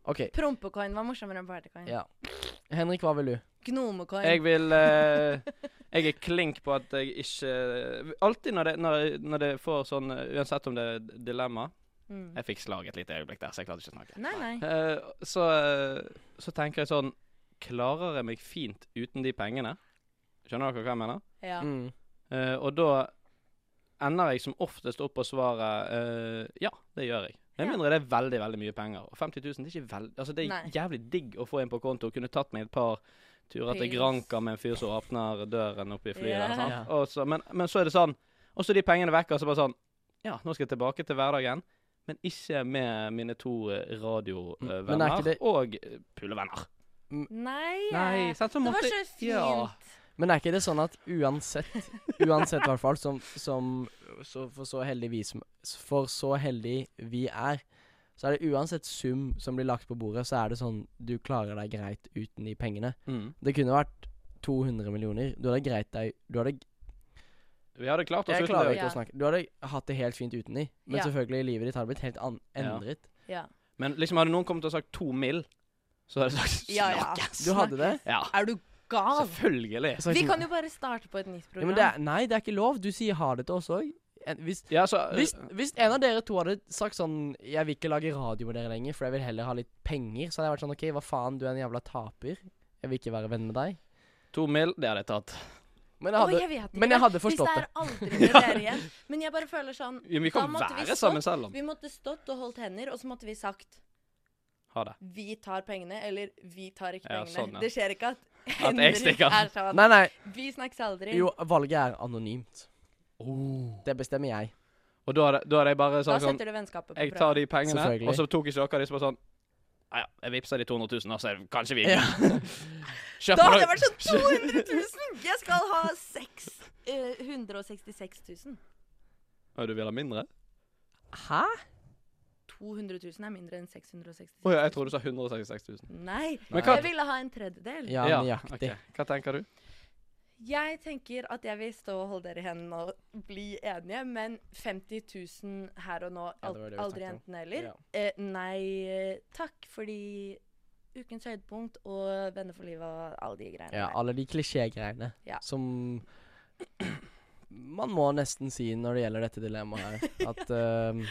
B: OK.
C: Prompecoin var morsommere enn partycoin.
B: Ja. Henrik, hva vil du?
C: Gnomecoin.
A: Jeg vil eh, Jeg er klink på at jeg ikke eh, Alltid når det, når, når det får sånn Uansett om det er dilemma
C: Mm.
A: Jeg fikk slag et lite øyeblikk der, så jeg klarte ikke å snakke.
C: Nei, nei.
A: Eh, så, eh, så tenker jeg sånn Klarer jeg meg fint uten de pengene? Skjønner dere hva jeg mener?
C: Ja.
B: Mm.
A: Eh, og da ender jeg som oftest opp på svaret eh, ja, det gjør jeg. Med
C: Ja.
A: mindre det er veldig veldig mye penger. Og 50 000 det er, ikke veld... altså, det
C: Nei.
A: er jævlig digg å få inn på konto. Kunne tatt meg et par turer til
C: Pils.
A: Granca med en fyr som åpner døren oppe i flyet.
C: Ja.
A: eller sant?
B: Ja.
A: Og så, men, men så er det sånn. Og så er de pengene vekk, og så bare sånn Ja, nå skal jeg tilbake til hverdagen. Men ikke med mine to eh,
B: Mm, men er ikke
A: radiovenner
B: det-
A: og eh, pulevenner.
C: Nei.
A: Nei,
C: eh,
A: sant? Så
C: det var
A: måtte
C: så fint.
A: Ja.
B: Men er ikke det sånn at uansett, uansett i hvert fall, som, som så for, så heldig vi som, for så heldig vi er, så er det uansett sum som blir lagt på bordet, så er det sånn du klarer deg greit uten de pengene.
A: mm.
B: Det kunne vært 200 millioner. Du hadde greit deg Du hadde
A: Vi hadde klart oss
B: Jeg
A: uten
B: klarer
A: det.
B: ikke å
C: Ja.
B: snakke. Du hadde hatt det helt fint uten de, men
C: Ja.
B: selvfølgelig, livet ditt hadde blitt helt an
A: Ja.
B: endret.
C: Ja.
A: Men liksom hadde noen kommet og sagt to mill., så hadde jeg sagt
C: Ja, ja.
A: snakkes.
B: Du hadde det?
A: Ja,
C: Er du gal?
A: selvfølgelig.
B: Så-
C: Vi kan jo bare starte på et nytt
B: ja,
C: program.
B: men det er, Nei, det er ikke lov. Du sier ha det til oss òg. Hvis,
A: Ja, så,
C: Øh.
A: eh,
B: hvis, hvis en av dere to hadde sagt sånn 'Jeg vil ikke lage radio med dere lenger, for jeg vil heller ha litt penger', så hadde jeg vært sånn 'OK, hva faen, du er en jævla taper. Jeg vil ikke være venn med deg'.
A: to mill., det hadde jeg tatt.
B: Men
C: Å,
B: jeg hadde,
C: jeg vet ikke.
B: men jeg hadde forstått
C: Hvis
B: det.
C: det er aldri med dere igjen. Men jeg bare føler sånn
A: Ja, men vi
C: Da
A: kan
C: måtte vi
A: være
C: stått.
A: sammen selv om
C: Vi måtte stått og holdt hender, og så måtte vi sagt
A: Ha det.
C: Vi tar pengene, eller vi tar ikke
A: Ja,
C: pengene.
A: sånn, ja.
C: Det skjer ikke at
A: jeg
C: Henrik
A: stikker.
C: er sånn.
B: Nei, nei.
C: Vi snakkes aldri.
B: Jo, valget er anonymt. Det bestemmer jeg.
A: Oh. Og da hadde, da hadde jeg bare
C: da
A: sagt sånn
B: altså,
C: setter du vennskapet på
A: Jeg tar de pengene,
B: Selvfølgelig.
A: og så tok ikke dere de som var sånn Ja, ja, jeg vippser de 200 000, da, så er- kanskje vi
B: Ja.
A: Kjøper
C: Da hadde
A: noe-
C: jeg vært sånn 200 000! Jeg skal ha seks, eh, 166 000.
A: Å, Du vil ha mindre?
B: Hæ?
C: 200 000 er mindre enn 666
A: Å
C: 000.
A: ja, jeg trodde du sa 166 000.
C: Nei.
A: Men hva-
C: Jeg ville ha en tredjedel.
B: Ja,
A: Ja,
B: nøyaktig.
A: ok. Hva tenker du?
C: Jeg tenker at jeg vil stå og holde dere i hendene og bli enige, men 50 000 her og nå,
B: Ja, det
C: al
B: var det vi
C: aldri
B: snakket om.
C: enten eller.
B: Ja.
C: Eh, nei eh, takk, fordi ukens høydepunkt og Venner for livet og alle de greiene
B: Ja, alle de klisjégreiene
C: Ja.
B: som man må nesten si når det gjelder dette dilemmaet her. At, ehm,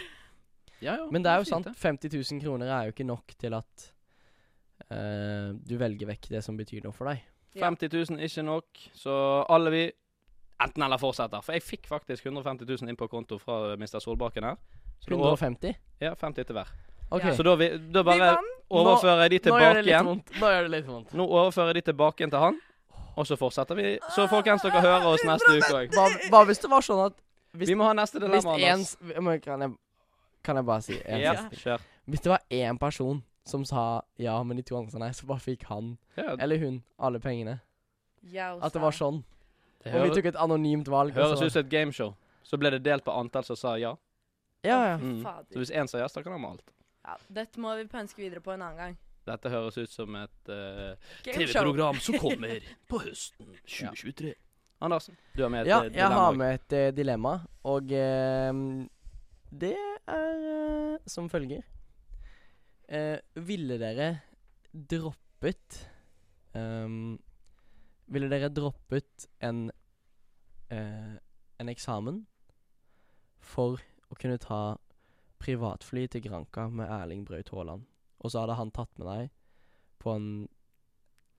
A: Ja, ja,
B: men det er jo
A: fint,
B: sant. 50 000 kroner er jo ikke nok til at eh, du velger vekk det som betyr noe for deg.
A: det. 50 000 ikke nok, så alle vi enten eller fortsetter. For jeg fikk faktisk 150 000 inn på konto fra Mr. Solbakken her. Så da,
B: 150?
A: ja, 50 til hver.
B: OK.
C: Ja.
A: Så da, vi, da
C: Vi
A: bare
C: vant!
A: overfører jeg de
B: Nå gjør
A: tilbake
B: det litt
A: igjen.
B: vondt. Nå gjør det litt vondt.
A: Nå overfører jeg de tilbake igjen til han, og så fortsetter vi. Så folkens, dere hører oss neste uke òg.
B: Hva, hva hvis det var sånn at Ah, Hvis-
A: Vi må ha neste
B: Hvis
A: dilemma,
B: en
A: Anders.
B: s- men kan, jeg, kan jeg bare si en
A: Ja,
B: siste?
A: kjør.
B: Hvis det var én person som sa ja, men de to andre sa nei, så bare fikk han
A: Ja,
B: eller hun alle pengene.
C: Jeg også.
B: At det var sånn.
A: det
B: Og vi
A: høres,
B: tok et anonymt valg. og
A: høres
B: så-
A: ut som et gameshow. Så ble det delt på antall som sa ja.
B: Ja, ja.
C: Å, fy
A: Mm. Så
C: Fader.
A: hvis én sa ja, så kan han med alt.
C: Ja, dette må vi pønske videre på en annen gang.
A: Dette høres ut som et eh,
C: Gameshow.
A: som kommer på høsten 2023. Andersen, du har med et
B: ja
A: eh,
B: jeg har
A: dilemma.
B: med et eh, dilemma, og eh, det er eh, som følger. Eh, ville dere droppet ehm, Ville dere droppet en eh, en eksamen for å kunne ta privatfly til Granca med Erling Braut Haaland? Og så hadde han tatt med deg på en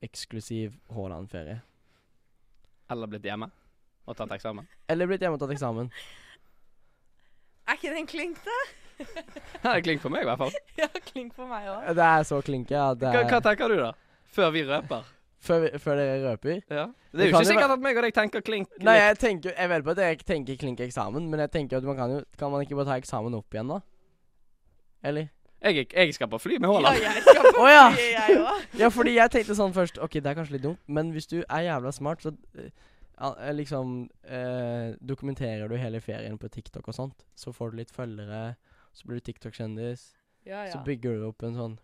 B: eksklusiv Haaland-ferie.
A: Eller blitt hjemme og tatt eksamen.
B: Eller blitt hjemme og tatt eksamen.
C: Er ikke den klink, da?
A: Det er klink for meg, i hvert fall.
C: Ja, klink for meg òg.
B: Det er så klinke at det
A: Hva, hva
B: er
A: tenker du, da? Før vi røper.
B: før, vi- før dere røper.
A: Ja. Det
B: Det
A: er jo
B: kan
A: ikke
B: jo
A: sikkert at meg og deg tenker klink.
B: Nei, jeg tenker Jeg vet på at jeg tenker klinke eksamen, men jeg tenker at man kan jo Kan man ikke bare ta eksamen opp igjen, da? Eller?
A: Jeg, jeg skal på fly med
C: Ja,
A: Haaland.
C: jeg skal på
B: Å ja!
C: fly, jeg òg.
B: Ja, fordi jeg tenkte sånn først OK, det er kanskje litt dumt, men hvis du er jævla smart, så eh, al- eh, liksom eh, Dokumenterer du hele ferien på TikTok og sånt, så får du litt følgere, så blir du TikTok-kjendis,
C: Ja,
B: så
C: ja.
B: bygger du opp en sånn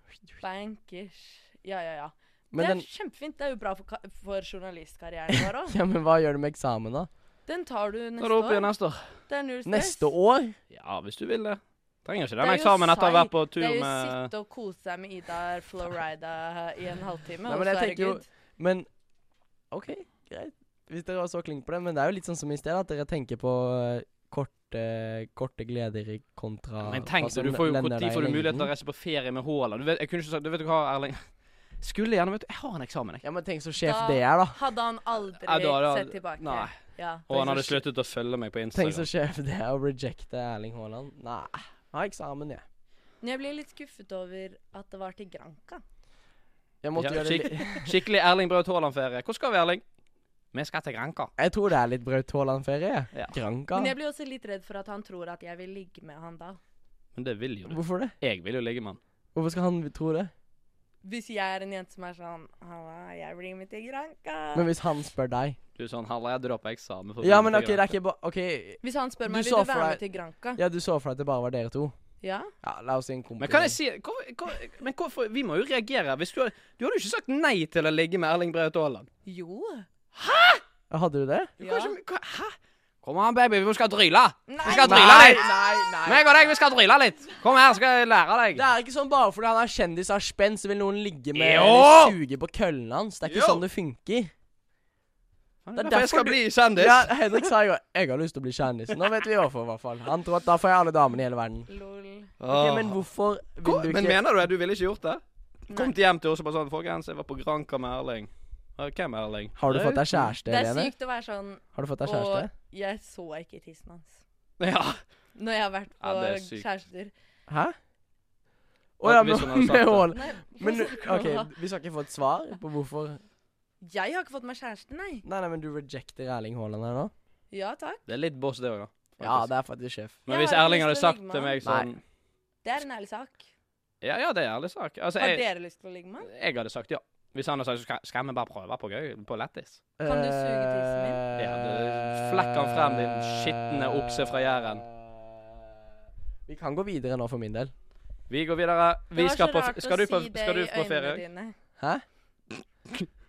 C: Bankers. Ja, ja, ja.
B: Men
C: det er
B: den
C: kjempefint. Det er jo bra for, ka- for journalistkarrieren vår òg.
B: Ja, men hva gjør du med eksamen, da?
C: Den tar du
A: Da er
C: neste
A: det opp igjen
C: år.
A: neste år.
C: Det er null stress.
B: Neste år?
A: Ja, hvis du vil det. Trenger ikke
C: Det
A: den
C: er jo
A: eksamen etter å ha
C: psy-
A: vært på
C: Det
A: tur
C: er jo
A: med
C: sitte og kose seg med Ida Florida i en halvtime,
B: Nei,
C: og
B: men jeg
C: så er det
B: tenker jo-
C: good.
B: Men OK, greit. Hvis dere var så klinke på det. Men det er jo litt sånn som i sted, at dere tenker på eh, korte, korte gleder i kontra
A: Men tenk deg, du får jo når får du mulighet til å reise på ferie med Haaland? Du vet, jeg kunne ikke sagt Du vet hva, Erling. Skulle gjerne, vet du. Jeg har en eksamen, jeg.
B: Ja, men tenk så sjef
C: Da-
B: det er, da.
C: Hadde han aldri
A: Ja, da- da-
C: sett tilbake.
A: Nei.
C: Ja.
A: Og han hadde sluttet å følge meg på
B: Tenk så
A: Instagram.
B: sjef det er å rejecte Erling Haaland. Nei, jeg har eksamen, jeg.
C: Men jeg blir litt skuffet over at det var til Granca.
B: Jeg måtte
A: Ja,
B: gjøre det
A: skikk-
B: litt
A: Skikkelig Erling Braut Haaland-ferie. Hvor skal vi, Erling? Vi skal til Granca.
B: Jeg tror det er litt Braut Haaland-ferie.
A: Ja.
B: Granca.
C: Men jeg blir også litt redd for at han tror at jeg vil ligge med han da.
A: Men det vil jo du.
B: Hvorfor det?
A: Jeg vil jo ligge med han.
B: Hvorfor skal han tro det?
C: Hvis jeg er en jente som er sånn Halla, jeg blir med til Granca.
B: Men hvis han spør deg
A: Du er sånn Halla, jeg drar på eksamen. For å
B: Ja,
A: bli
B: men
A: med
B: OK,
A: til
B: det er
A: Granca.»
B: ikke bare OK,
C: Hvis han spør meg
B: Du
C: vil
B: så
C: du være
B: for
C: med til Granca,
B: ja, du så for deg at det bare var dere to.
C: ja?
B: Ja, la oss si en kompis.
A: Men kan jeg si hvor, hvor, Men hvorfor Vi må jo reagere. Hvis du, hadde- du hadde jo ikke sagt nei til å ligge med Erling Braut Haaland.
C: Jo.
B: Hadde du det?
A: Du
C: Ja.
A: kan ikke- hva- Hæ? Kom an, baby, vi skal dryle.
C: Nei,
A: skal
C: nei.
A: drille litt.
B: nei,
A: Meg og deg, vi skal dryle litt. Kom her, skal jeg lære deg.
B: Det er ikke sånn bare fordi han er kjendis av spenn, så vil noen ligge med
A: Jo!
B: eller suge på køllen hans. Det er ikke
A: Jo.
B: sånn det funker.
A: Det er
B: derfor
A: derfor jeg skal
B: du-
A: bli kjendis.
B: Ja, Henrik sa jo 'jeg har lyst til å bli kjendis'. Nå vet vi hvorfor, i hvert fall. Han tror at da får jeg alle damene i hele verden.
C: Lol.
B: Ok, men hvorfor
A: Hvor-
B: vil du
A: men
B: ikke
A: mener du at du ville ikke gjort det? Kom
C: Nei.
A: til hjem til oss og bare sånn Folkens, jeg var på Granca med Erling. «Ja, Hvem er Erling?
B: Har du fått deg kjæreste,
C: Det er
B: Helene?
C: sykt å være sånn
B: Har du fått deg
C: Og
B: kjæreste?
C: jeg så ikke tissen hans.
A: Ja.
C: Når jeg har vært på
A: Ja, det er sykt.
C: kjærester.
B: Hæ? Å ja,
A: Hvis
B: men,
A: hun hadde sagt det.
B: men,
C: Nei,
B: men
C: hva
B: OK,
C: snakker du om?
B: vi skal ikke få et svar på hvorfor
C: Jeg har ikke fått meg kjæreste, nei.
B: Nei, nei, men du rejecter Erling Haaland her nå?
C: Ja takk.
A: Det er litt boss, det òg, da.
B: Ja,
A: faktisk.
B: det er faktisk sjef.
A: Men
C: Jeg
A: hvis
C: har ikke
A: Erling
C: lyst
A: hadde
C: til å
A: sagt
C: ligge med
A: til meg
B: han.
A: sånn
C: Det er en ærlig sak.
A: Ja, ja, det er ærlig sak. Altså,
E: Har
A: jeg,
E: dere lyst til å ligge med han?
A: jeg hadde sagt ja. Hvis han hadde sagt skal, skal vi bare prøve på gøy, på lættis.
E: Kan du suge tissen min?
B: Eh,
A: Ja, du- flekk han frem, din skitne okse fra Jæren.
B: Vi kan gå videre nå, for min del.
A: Vi går videre.
E: Det
A: Vi
E: var
A: skal
E: så
A: på,
E: rart å
A: skal, du på,
E: si det
A: skal du
E: i
A: på
E: øynene
A: ferie?
E: dine.
B: Hæ?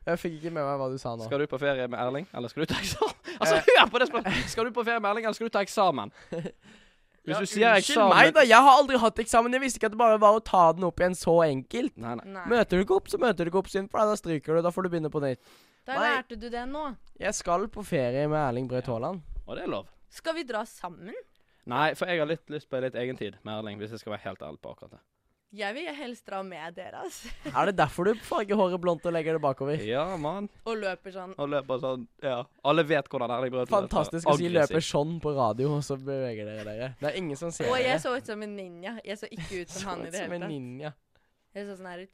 B: Jeg fikk ikke med meg hva du sa nå.
A: Skal du på ferie med Erling, eller skal du ta eksamen? Altså,
E: Eh.
A: hør på det spørsmålet! Skal du på ferie med Erling, eller skal du ta eksamen? Hvis du sier eksamen
B: meg, da! Jeg har aldri hatt eksamen. Jeg visste ikke at det bare var å ta den opp igjen så enkelt.
A: Nei, nei.
E: Nei.
B: Møter du ikke opp, så møter du ikke opp, synd for deg. Da stryker du. Da får du begynne på nytt.
E: Da
B: Nei.
E: lærte du det nå.
B: Jeg skal på ferie med Erling Braut Haaland.
A: Og det er lov.
E: Skal vi dra sammen?
A: Nei, for jeg har litt lyst på litt egentid med Erling, hvis jeg skal være helt ærlig på akkurat det.
E: Jeg vil helst dra med dere, altså.
B: Er det derfor du farger håret blondt og legger det bakover?
A: Ja, mann.
E: Og løper sånn.
A: Og løper sånn Ja. Alle vet hvordan Erling Braut løper.
B: Fantastisk å si
A: Aggressiv.
B: løper sånn på radio, og så beveger dere dere. Det er ingen som ser
E: Og
B: dere.
E: jeg så ut som en ninja. Jeg så ikke ut som han i det
B: Som
E: hele
B: en
E: tatt.
B: ninja.
E: Jeg så sånn her ut.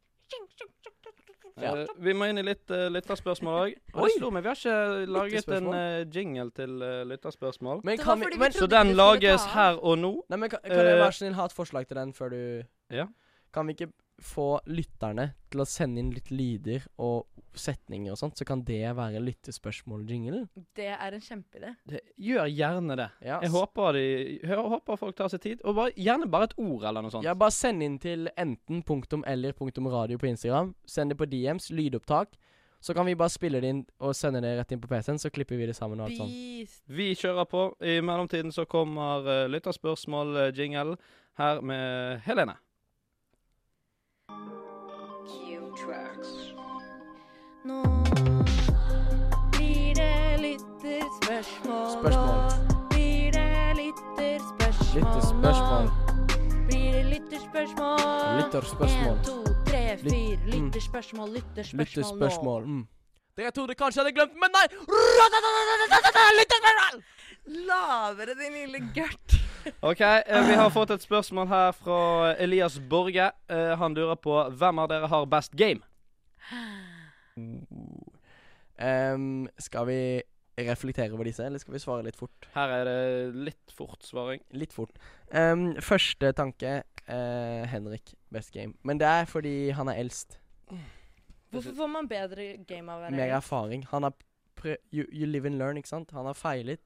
B: Ja.
A: Eh, vi må inn i litt eh, lytterspørsmål òg.
B: Oi!
A: Det slo meg, vi har ikke laget en
B: Lytterspørsmål.
A: eh, jingle til eh, lytterspørsmål.
B: Men
E: Det var
B: kan vi
E: fordi vi
B: men,
A: Så
E: trodde vi
A: den
E: skulle
A: lages
E: ta av.
A: her og nå.
B: Nei, men kan, kan jeg
A: Eh,
B: være så snill ha et forslag til den før du
A: Ja.
B: Kan vi ikke få lytterne til å sende inn litt lyder og setninger og sånt, så kan det være lyttespørsmål-jinglen?
E: Det er en kjempeidé.
A: Det, gjør gjerne det.
B: Ja.
A: Jeg håper, de, jeg håper folk tar seg tid. Og bare, gjerne bare et ord eller noe sånt.
B: Ja, bare send inn til enten punktum eller punktum radio på Instagram. Send det på DMs, lydopptak. Så kan vi bare spille det inn og sende det rett inn på PC-en, så klipper vi det sammen og alt sånt.
E: Beast.
A: Vi kjører på. I mellomtiden så kommer eh, lytterspørsmål-jingle her med Helene.
E: Nå blir det lytterspørsmål.
B: Spørsmål.
E: Nå blir det lytterspørsmål.
B: Lyttespørsmål.
E: Nå blir det lytterspørsmål.
B: Lytterspørsmål.
E: En, to, tre, fire.
B: Lytt- mm.
E: Lytterspørsmål, lytterspørsmål,
B: Lyttespørsmål. Mm. Dere trodde kanskje jeg hadde glemt, men nei! Lyttespørsmål!
E: nå. Lavere, din lille gørt.
A: OK, eh, vi har fått et spørsmål her fra Elias Borge. Eh, han lurer på hvem av dere har best game?
B: Ehm, skal vi reflektere over disse, eller skal vi svare litt fort?
A: Her er det litt fort svaring.
B: Litt fort. Ehm, første tanke eh, Henrik, best game. Men det er fordi han er eldst.
E: Hvorfor får man bedre game av
B: Mer
E: hverandre?
B: erfaring. Han har prø you, you live and learn, ikke sant? Han har feilet.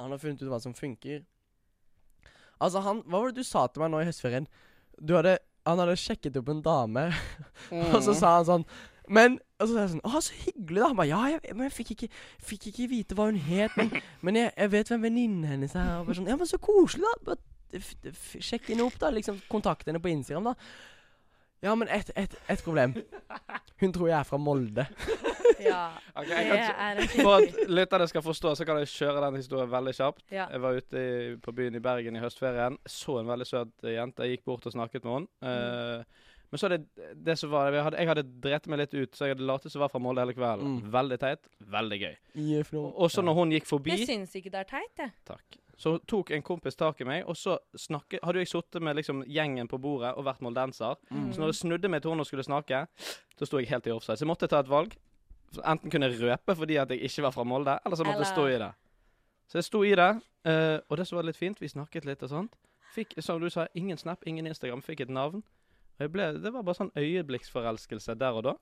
B: Han har funnet ut hva som funker. Altså, han Hva var det du sa til meg nå i høstferien? Du hadde Han hadde sjekket opp en dame, og så sa han sånn men, og så sa jeg sånn Å, så hyggelig, da. Han bare Ja, jeg, men jeg fikk ikke, fikk ikke vite hva hun het, men, men jeg, jeg vet hvem venninnen hennes er. Og bare sånn Ja, men så koselig, da. Bare f- f- Sjekk henne opp, da. Liksom, kontakt henne på Instagram, da. Ja, men ett et, et problem. Hun tror jeg er fra Molde.
E: Ja.
A: Ok,
E: Det
A: jeg kan,
E: er en
A: for
E: skikkelig
A: at lytterne skal forstå, så kan jeg kjøre den historien veldig kjapt.
E: Ja.
A: Jeg var ute i, på byen i Bergen i høstferien, så en veldig søt eh, jente. Jeg gikk bort og snakket med henne. Eh, Men så er det det som var Jeg hadde, jeg hadde drept meg litt ut, så jeg hadde latt som jeg var fra Molde hele kvelden.
B: Mm.
A: Veldig teit, veldig gøy.
B: I eh, Flo.
A: Og så når hun gikk forbi
E: Jeg syns ikke det er teit, jeg.
A: Takk. Så tok en kompis tak i meg, og så snakke, hadde jo jeg sittet med liksom gjengen på bordet og vært moldenser.
B: Mm.
A: Så når jeg snudde meg til henne og skulle snakke, så sto jeg helt i offside. Så jeg måtte ta et valg. Enten kunne jeg røpe fordi at jeg ikke var fra Molde, eller så måtte jeg stå i det. Så jeg sto i det, eh, og det som var litt fint, vi snakket litt og sånt. Fikk, som du sa, ingen Snap, ingen Instagram, fikk et navn. Og jeg ble, det var bare sånn øyeblikksforelskelse der og da.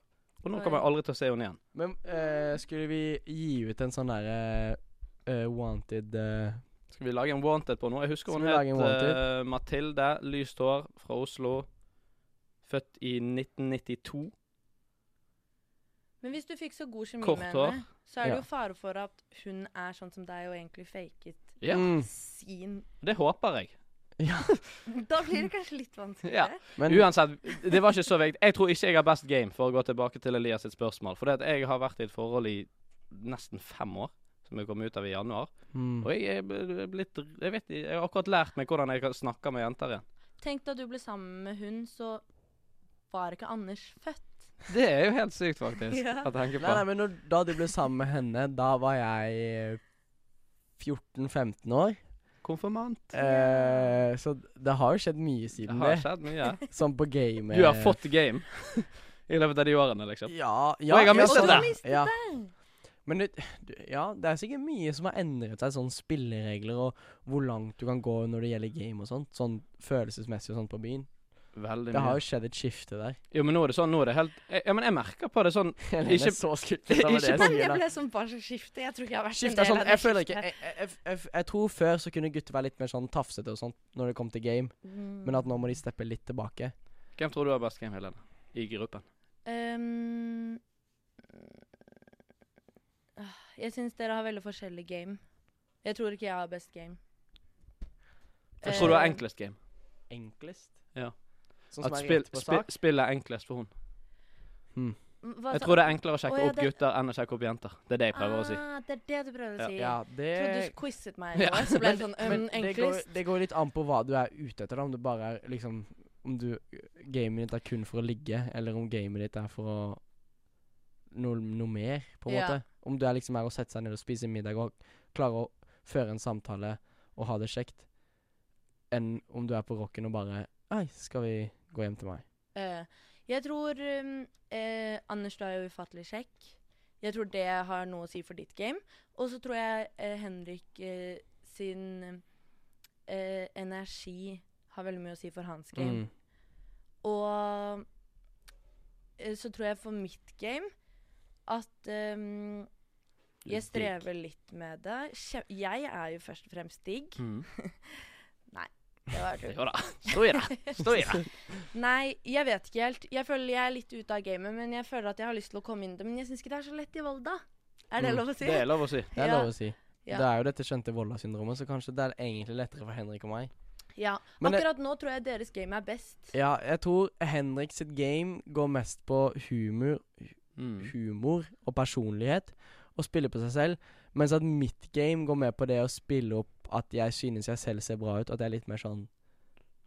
A: Og nå kommer jeg aldri til å se henne igjen.
B: Men eh, skulle vi gi ut en sånn derre wanted eh,
A: Skal vi lage en wanted på noe? Jeg husker
B: Skal
A: hun
B: vi lage en
A: het
B: wanted?
A: eh, Mathilde. Lyst hår fra Oslo. Født i 1992.
E: Men hvis du fikk så god kjemi
A: Kort
E: med
A: hår.
E: henne, så er det
B: Ja.
E: jo fare for at hun er sånn som deg og egentlig faket
A: Ja.
B: mm.
E: sin
A: Det håper jeg.
E: Da blir det kanskje litt
A: Ja.
E: vanskeligere.
B: Men
A: Uansett, det var ikke så viktig. Jeg tror ikke jeg har best game, for å gå tilbake til Elias sitt spørsmål. For det at jeg har vært i et forhold i nesten fem år, som jeg kom ut av i januar.
B: mm.
A: Og jeg er bl- blitt Jeg vet ikke, jeg har akkurat lært meg hvordan jeg kan snakke med jenter igjen.
E: Tenk da du ble sammen med hun, så var ikke Anders født.
A: Det er jo helt sykt, faktisk,
E: Ja.
A: å tenke
B: Nei,
A: på.
B: nei, men når, da du ble sammen med henne, da var jeg eh, 14-15 år.
A: Konfirmant.
B: Eh, så det har jo skjedd mye
A: Det
B: siden
A: har
B: det.
A: skjedd mye.
B: Sånn på gamet.
A: Du har fått game i løpet av de årene, liksom.
B: Ja, ja.
A: Og jeg har
B: ja,
A: mistet
B: så-
E: det.
B: ja.
E: Og du har mistet
B: ja. Men det, du- ja, det er sikkert mye som har endret seg, sånn spilleregler og hvor langt du kan gå når det gjelder game og sånt. Sånn følelsesmessig og sånt på byen.
A: veldig
B: Det har
A: mye.
B: jo skjedd et skifte der.
A: Jo, men nå er det sånn, nå er det helt Ja, men jeg merker på det sånn
B: Helene
A: Ikke-
B: er så skutt ut av
A: Ikke
B: det jeg
A: på-
F: Nei,
B: sier
F: jeg
B: der.
F: ble sånn Hva slags skifte? Jeg tror ikke jeg har vært
B: Skifte er
F: en del
B: sånn,
F: av det
B: jeg føler ikke
F: skiftet.
B: jeg, jeg, jeg, jeg tror før så kunne gutter være litt mer sånn tafsete og sånt når det kom til game,
F: Mm.
B: men at nå må de steppe litt tilbake.
A: Hvem tror du har best game, Helene? I gruppen.
C: Ehm, øh, jeg syns dere har veldig forskjellig game. Jeg tror ikke jeg har best game.
A: Jeg tror du har
C: Eh,
A: enklest game.
B: Enklest?
A: Ja.
B: Sånn som
A: At
B: er
A: spill,
B: rett på
A: spill,
B: sak?
A: spill er enklest for hun.
C: m- hva
A: Jeg
C: sa-
A: tror det er enklere å
C: Altså, Å,
A: sjekke
C: ja,
A: opp
C: det-
A: gutter enn å sjekke opp jenter. Det er det jeg prøver å si.
C: Ah, det er det du prøver
A: Ja.
C: å si.
B: Ja, det
C: Jeg trodde du quizet meg,
A: Ja.
C: nå, så ble det sånn
B: Men
C: um,
B: det går,
C: enklest.
B: det går litt an på hva du er ute etter, da. Om du bare er liksom Om du gamet ditt er kun for å ligge, eller om gamet ditt er for å noe, noe mer, på en
C: Ja.
B: måte. Om du er liksom her og setter seg ned og spiser middag og klarer å føre en samtale og ha det kjekt, enn om du er på rocken og bare Nei, skal vi gå hjem til meg?
C: Eh, jeg tror um, eh, Anders, du er jo ufattelig kjekk. Jeg tror det har noe å si for ditt game. Og så tror jeg eh, Henrik eh, sin eh, energi har veldig mye å si for hans game.
B: Mm.
C: Og eh, så tror jeg for mitt game at um, jeg strever litt med det. Kje- Jeg er jo først og fremst digg.
A: Mm.
C: Det var
A: Jo da. Stå i det. Stå i det.
C: Nei, jeg vet ikke helt. Jeg føler jeg er litt ute av gamet, men jeg føler at jeg har lyst til å komme inn i det. Men jeg syns ikke det er så lett i Volda. Er det
B: Mm,
C: lov å si?
A: Det er lov å si.
B: Det er
C: Ja.
B: lov å si.
C: Ja.
B: Det er jo dette kjente Volda-syndromet, så kanskje det er egentlig lettere for Henrik og meg.
C: Ja.
B: Men det-
C: Akkurat nå tror jeg deres game er best.
B: Ja, jeg tror Henrik sitt game går mest på humor,
A: Mm.
B: humor og personlighet, og spille på seg selv, mens at mitt game går med på det å spille opp at jeg synes jeg selv ser bra ut, at jeg er litt mer sånn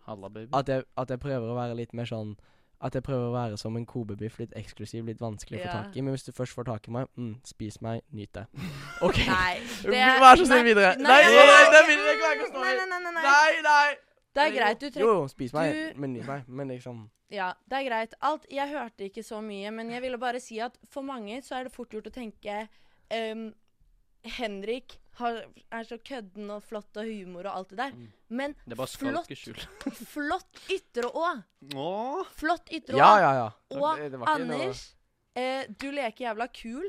A: Halla, baby.
B: At jeg, at jeg prøver å være litt mer sånn At jeg prøver å være som en kobebiff, litt eksklusiv, litt vanskelig å få
C: Ja.
B: tak i. Men hvis du først får tak i meg, mm, spis meg, nyt det. OK.
C: Nei.
B: Vær så snill videre. Nei, nei, nei, det vil jeg ikke være ikke å stå
C: Nei,
B: i.
C: nei, nei, nei, nei.
B: Nei, nei.
C: Det er greit. Du
B: Jo,
C: trekker
B: jo, spis meg,
C: Du-
B: men nyt meg. Men liksom
C: Ja, det er greit. Alt Jeg hørte ikke så mye, men jeg ville bare si at for mange så er det fort gjort å tenke ehm, Henrik har, er så kødden og flott og humor og alt det der.
A: Mm.
C: Men
A: Det er bare
C: flott,
A: skalkeskjul.
C: flott ytre òg.
A: Åh.
C: Flott ytre
B: Ja,
C: òg.
B: ja, ja.
C: Og
B: Det- det var ikke noe-
C: Anders, eh, du leker jævla kul.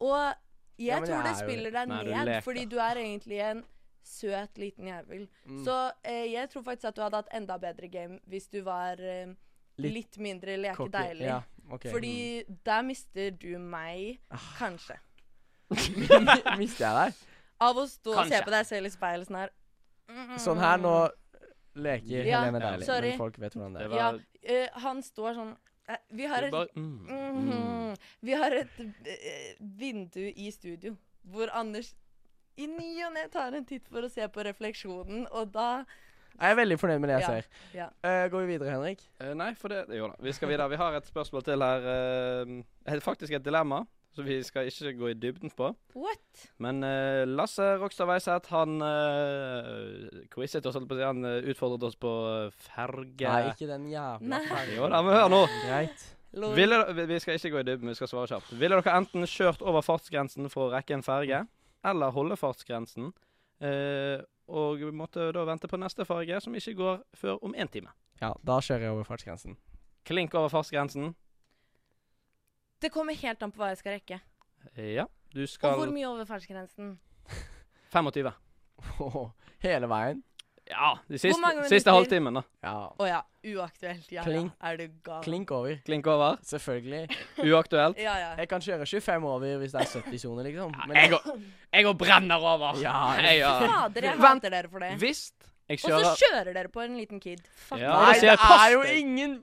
C: Og jeg
B: Ja, men jeg
C: tror det
B: er jo
C: spiller deg
A: Nei, du
C: ned,
A: leker.
C: fordi du er egentlig en søt liten jævel.
B: Mm.
C: Så eh, jeg tror faktisk at du hadde hatt enda bedre game hvis du var eh,
B: Litt
C: litt, mindre leke
B: Cocky.
C: deilig.
B: Ja, ok. Ah.
C: Fordi der mister du meg, kanskje.
B: Mm. Mister jeg deg?
C: Av å stå og
A: Kanskje.
C: se på deg selv i speilet sånn her. Mm.
B: Sånn her nå leker
C: Ja,
B: Helene deilig,
C: sorry.
B: men folk vet hvordan det
A: Det
B: er.
A: var
C: Ja, eh, han står sånn eh, Vi har
A: du
C: et
A: bare mm.
C: Mhm. Vi har et eh, vindu i studio hvor Anders i ny og ne tar en titt for å se på refleksjonen, og da
B: Jeg er veldig fornøyd med det jeg
C: Ja,
B: ser.
C: ja.
B: Eh, går vi videre, Henrik?
A: Eh, Nei, for det Jo da. Vi skal videre. Vi har et spørsmål til her. eh, et- Faktisk et dilemma, så vi skal ikke gå i dybden på.
C: What?
A: Men eh, Lasse Rokstad Weiseth, han eh, quizet oss, holdt på å si. Han eh, utfordret oss på eh, ferge...
B: Nei, ikke den jævla
C: Nei.
B: fergen.
A: Jo da, men hør nå.
B: Greit.
C: Lol.
A: Ville, vi- vi skal ikke gå i dybden, vi skal svare kjapt. Ville dere enten kjørt over fartsgrensen for å rekke en ferge, eller holde fartsgrensen, eh, og måtte da vente på neste ferge, som ikke går før om én time?
B: Ja, da kjører jeg over fartsgrensen.
A: Klink over fartsgrensen.
C: Det kommer helt an på hva jeg skal rekke.
A: Eh, Ja. Du
C: Og hvor
A: skal
C: mye over fartsgrensen.
A: 25.
B: Hele veien.
A: Ja, de siste,
C: mange
A: siste
C: minutter?
A: halvtimen, da.
B: Ja.
C: Å ja. Uaktuelt. Ja,
B: Klink.
C: ja. Er du gal?
B: Klink over.
A: Klink over.
B: Selvfølgelig.
A: Uaktuelt.
C: Ja, ja.
B: Jeg kan kjøre 25 over hvis det er 70-sone, liksom. Men
G: Jeg går, jeg går brenner over.
B: Ja,
G: jeg, gjør det.
C: Fader, jeg
A: Vent.
C: hater dere for det.
A: Hvis jeg
C: Og så
A: kjører
C: kjører dere på en liten kid. Fuck.
A: Ja.
B: Nei,
A: det ser
B: det
A: jeg pass
B: er jo
A: deg.
B: ingen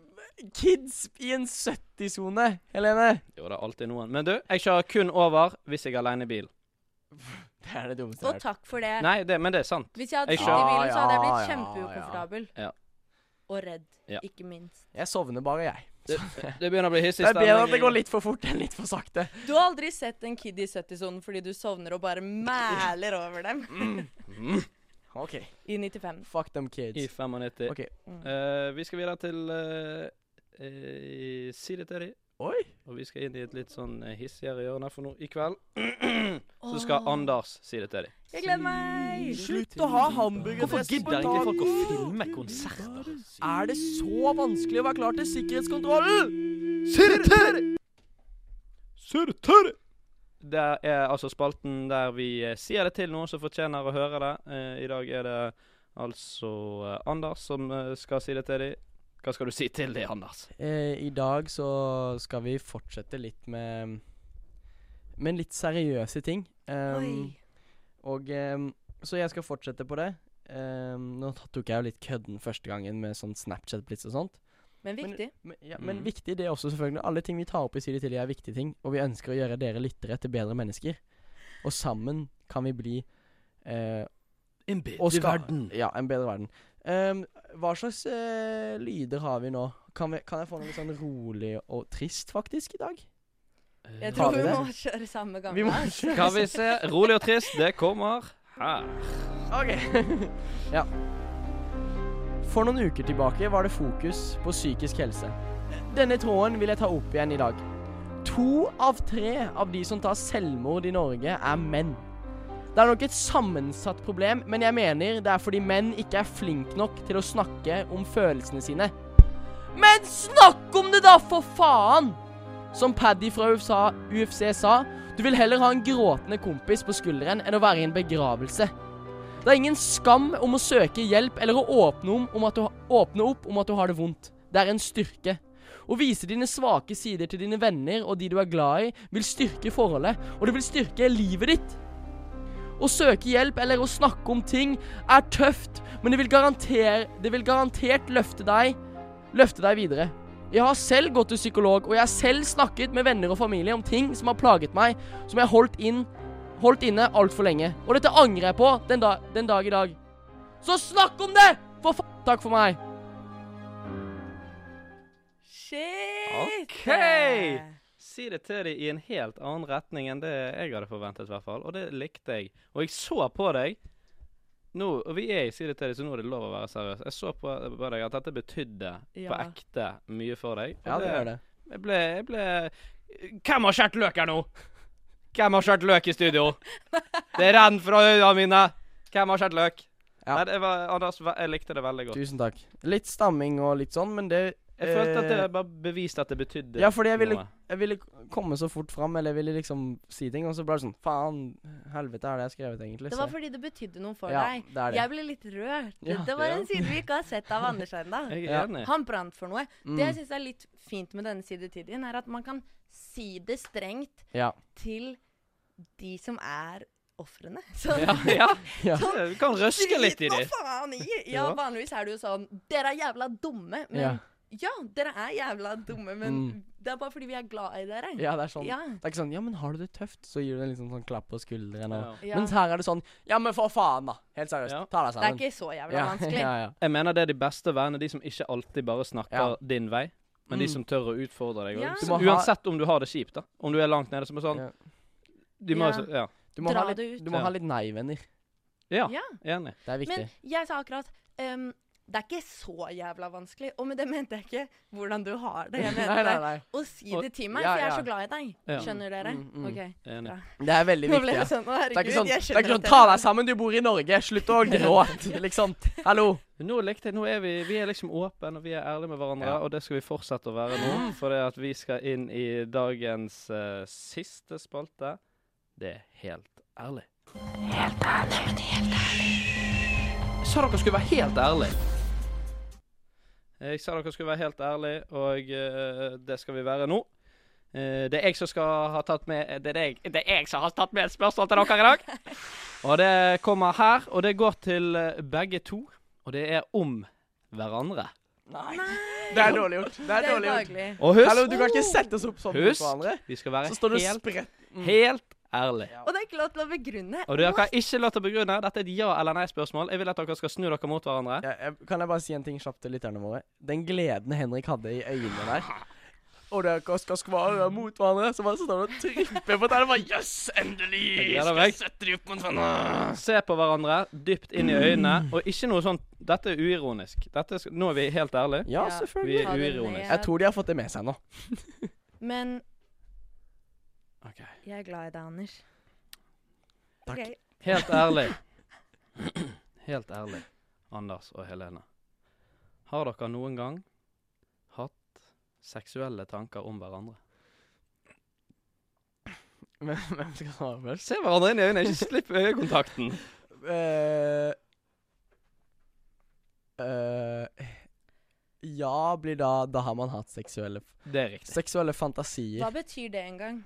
B: kids i en 70-sone, Helene.
A: Jo, det er alltid noen. Men du, jeg kjører kun over hvis jeg er aleine i bil.
B: Det er det dummeste
C: Og takk for det.
A: Nei, det, men det er sant.
C: Hvis jeg hadde
A: Jeg
C: sittet i bilen, så hadde
B: Ja,
C: jeg blitt
B: ja,
C: kjempeukomfortabel.
A: ja. Ja.
C: Og redd,
A: Ja.
C: ikke minst.
B: Jeg sovner bare, jeg.
A: Det, det begynner å bli hissig
B: Det er bedre at det
A: i-
B: går litt for fort enn litt for sakte.
C: Du har aldri sett en kid i 70-sonen fordi du sovner og bare mæler over dem.
A: Mm.
B: OK.
C: I 95.
B: Fuck them
A: i
B: kids.
A: 95.
B: OK.
A: Eh, vi skal videre til eh, eh, Si det til de.
B: Oi.
A: Og vi skal inn i et litt sånn eh, hissigere hjørne for nå i kveld.
C: Å,
A: så skal Anders si det til dem.
E: Jeg gleder meg.
H: Slutt å ha hamburger
A: Hvorfor gidder ikke folk å filme konserter?
H: Er det så vanskelig å være klar til sikkerhetskontrollen?
A: Det er altså spalten der vi eh, sier det til noen som fortjener å høre det. Eh, I dag er det altså eh, Anders som eh, skal si det til dem. Hva skal du si til dem, Anders?
B: Eh, I dag så skal vi fortsette litt med Med litt seriøse ting. Um,
E: Oi.
B: Og em, Så jeg skal fortsette på det. Em, nå tok jeg jo litt kødden første gangen med sånn Snapchat-blitz og sånt.
E: Men
B: Men-
E: viktig.
B: Men, ja, men
A: Mm.
B: viktig det er også, selvfølgelig. Alle ting vi tar opp i Siri til, er viktige ting. Og vi ønsker å gjøre dere lyttere til bedre mennesker. Og sammen kan vi bli eh,
H: En
B: og
H: bedre
B: skal-
H: verden.
B: Ja, en bedre verden. Em, hva slags eh, lyder har vi nå? Kan, vi, kan jeg få noe litt sånn rolig og trist, faktisk, i dag?
A: Eh,
E: Jeg
B: Har
E: tror
B: vi
E: vi
B: det?
E: må kjøre samme gang.
B: Vi må
A: Skal vi se. Rolig og trist, det kommer her.
B: OK. ja. For noen uker tilbake var det fokus på psykisk helse. Denne tråden vil jeg ta opp igjen i dag. To av tre av de som tar selvmord i Norge, er menn. Det er nok et sammensatt problem, men jeg mener det er fordi menn ikke er flink nok til å snakke om følelsene sine. Men snakk om det, da, for faen! Som Paddy fra USA, UFC sa, du vil heller ha en gråtende kompis på skulderen enn å være i en begravelse. Det er ingen skam om å søke hjelp eller å åpne, om, om at du, ha- åpne opp om at du har det vondt. Det er en styrke. Å vise dine svake sider til dine venner og de du er glad i, vil styrke forholdet, og det vil styrke livet ditt. Å søke hjelp eller å snakke om ting er tøft, men det vil, garanter, det vil garantert løfte deg, løfte deg videre. Jeg har selv gått til psykolog, og jeg har selv snakket med venner og familie om ting som har plaget meg, som jeg har holdt inn holdt inne altfor lenge. Og dette angrer jeg på den, da, den dag i dag. Så snakk om det! For fa... Takk for meg.
E: Shit!
A: Ok. Si det til dem i en helt annen retning enn det jeg hadde forventet, i hvert fall. Og det likte jeg. Og jeg så på deg nå, og Vi er i Si det til dem, så nå er det lov å være seriøs. Jeg så på, på deg at dette betydde på
E: Ja.
A: ekte mye for deg. og
B: Ja, det gjør det.
A: Jeg ble, jeg ble Hvem har skjært løk her nå? Hvem har skjært løk i studio? Det renner fra øynene mine! Hvem har skjært løk?
B: Ja.
A: Nei, det var, Anders, ve- jeg likte det veldig godt.
B: Tusen takk. Litt stamming og litt sånn, men det
A: Jeg følte at
B: eh,
A: det bare beviste at det betydde
B: Ja, fordi jeg ville,
A: noe.
B: jeg ville komme så fort fram, eller jeg ville liksom si ting, og så ble det sånn Faen, helvete, er det jeg har skrevet, egentlig?
E: Det var fordi det betydde noe for
B: ja,
E: deg.
B: det er det.
E: Jeg ble litt rørt.
B: Ja,
E: det var
A: ja.
E: en side vi ikke har sett av Anders ennå.
A: Jeg er
B: Ja.
A: enig.
E: Han brant for noe.
B: Mm,
E: Det jeg syns er litt fint med denne sidetiden, er at man kan si det strengt
B: ja.
E: til de som er ofrene. Så
A: Ja, ja.
B: Ja.
A: Du kan røske litt i det.
E: Drit noe faen i! Ja,
A: Ja.
E: vanligvis er det jo sånn Dere er jævla dumme, men
B: Ja.
E: ja. dere er jævla dumme, men
B: Mm.
E: det er bare fordi vi er glad i dere.
B: ja, det er sånn.
E: Ja.
B: Det er ikke sånn Ja, men har du det tøft? Så gir du en liksom sånn klapp på skulderen og
E: Ja.
B: Mens her er det sånn Ja, men for faen, da. Helt seriøst.
A: Ja.
B: Ta deg
E: Det er
B: sammen.
E: ikke så jævla
B: ja,
E: vanskelig.
B: ja, ja.
A: Jeg mener det er de beste vennene, de som ikke alltid bare snakker
B: Ja.
A: din vei, men de
B: Mm.
A: som tør å utfordre deg. og
E: Ja.
A: så
B: Du må ha-
A: Uansett om du har det kjipt, da. Om du er langt nede, som er sånn
B: Ja.
A: de må,
E: Ja.
A: jo så- ja.
B: Du må, ha
E: Dra
B: litt,
E: det ut.
B: du må
A: Ja.
B: ha litt nei-venner.
A: ja.
E: Ja.
A: Enig.
B: Det er viktig.
E: Men jeg sa akkurat ehm, det er ikke så jævla vanskelig. Og med det mente jeg ikke hvordan du har det. Jeg mente
B: nei, nei, nei.
E: å si
A: Og-
E: det til meg,
B: Ja,
E: for jeg er
B: ja.
E: så glad i deg.
A: Ja.
E: Skjønner dere?
B: Mm, mm.
E: Ok.
A: Enig.
E: Bra.
B: Det er
E: Nå
B: veldig
E: ble
B: viktig.
E: det
B: Ja.
E: sånn. Å,
B: Det er
E: herregud,
B: ikke sånn, det
E: jeg
B: er
E: skjønner
B: ikke
E: at
B: sånn Ta
E: jeg-
B: deg sammen, du bor i Norge! Slutt å gråte! Liksom. Hallo!
A: Nå likte jeg, nå er vi, vi er liksom åpne og vi er ærlige med hverandre,
B: Ja. Mm.
A: og det skal vi fortsette å være nå. For at vi skal inn i dagens eh, siste spalte. Det er helt ærlig. Helt ærlig. Jeg sa dere skulle være helt ærlig. Jeg sa dere skulle være helt ærlig, og eh, det skal vi være nå. Eh, det er jeg som skal ha tatt med eh, Det er jeg, det er jeg som har tatt med et spørsmål til dere i dag. Og det kommer her, og det går til eh, begge to. Og det er om hverandre.
B: Nei. Det er dårlig gjort. Det er
E: Det er
B: dårlig gjort.
E: ubehagelig.
A: Og husk,
B: Hallo, du kan ikke sette oss opp sånn mot
A: Husk.
B: hverandre.
A: vi skal være
B: Så står du og
A: helt,
B: spredt
A: helt ærlig.
E: Og det er ikke lov til å begrunne.
A: Og dere har ikke lov til å begrunne. Dette er et ja- eller nei-spørsmål. Jeg vil at dere skal snu dere mot hverandre.
B: Ja, jeg- Kan jeg bare si en ting kjapt til lytterne våre? Den gleden Henrik hadde i øynene der Og dere skal skvare mot hverandre, så bare står du og tripper på tærne. Bare Jøss, endelig!
A: Jeg gleder
B: Skal
A: meg.
B: jeg sette de opp mot hverandre.
A: Se på hverandre dypt inn i øynene, og ikke noe sånn Dette er uironisk. Dette skal, nå er vi helt ærlige.
E: Ja.
B: Ja,
A: Vi
B: selvfølgelig.
A: er
E: Ta det
A: uironiske.
E: ned.
B: Jeg tror de har fått det med seg nå.
E: Men
A: Ok.
E: jeg er glad i deg, Anders.
B: Takk.
C: Ok.
A: Helt ærlig. Helt ærlig, Anders og Helene. Har dere noen gang hatt seksuelle tanker om hverandre?
B: Men hvem skal svare først?
A: Se hverandre inn i øynene, ikke slipp øyekontakten.
B: Eh, eh, ja blir da Da har man hatt seksuelle
A: Det er riktig.
B: Seksuelle fantasier.
E: Hva betyr det engang?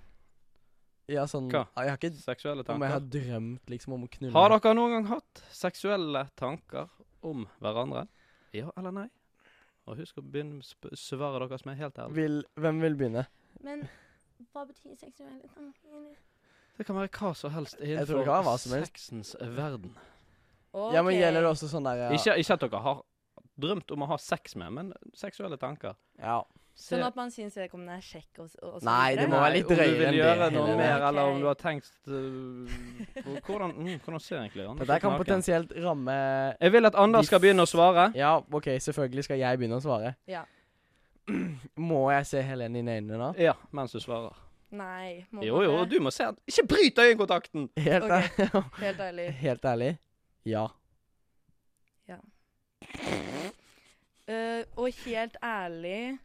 B: Ja, sånn
A: Hva?
B: Jeg har ikke
A: Seksuelle
B: Om jeg har
A: tanker.
B: drømt liksom om å knulle
A: Har dere noen gang hatt seksuelle tanker om hverandre? Ja eller nei? Og husk å begynne med sp- svaret deres med helt ærlig.
B: Vil, Hvem vil begynne?
E: Men hva betyr seksuelle tanker?
A: Det kan være hva som helst
B: tror det kan være hva
A: innenfor
B: som helst.
A: sexens verden.
B: Ja, men Gjelder det også sånn der ja.
A: Ikke, ikke at dere har drømt om å ha sex med, men seksuelle tanker.
B: ja.
A: Se-
E: Sånn at man syns vedkommende er kjekk og, s- og så
B: Nei, det
E: videre?
B: må være litt
A: Nei,
B: drøyere
A: Om du vil
B: enn det,
A: gjøre noe
B: Helene.
A: mer,
E: Ok.
A: eller om du har tenkt øh, på hvordan, mm, hvordan ser egentlig Anders
B: Dette kan
A: ut naken?
B: potensielt ramme
A: Jeg vil at Anders skal begynne å svare.
B: Ja, OK, selvfølgelig skal jeg begynne å svare.
E: Ja.
B: Må jeg se Helene inn i øynene nå?
A: Ja, mens du svarer.
E: Nei. Må
A: Jo, jo,
E: man
A: du må se han. Ikke bryt øyekontakten!
B: Helt, ær-
E: det? Helt ærlig.
B: Helt ærlig ja.
E: Eh, og helt ærlig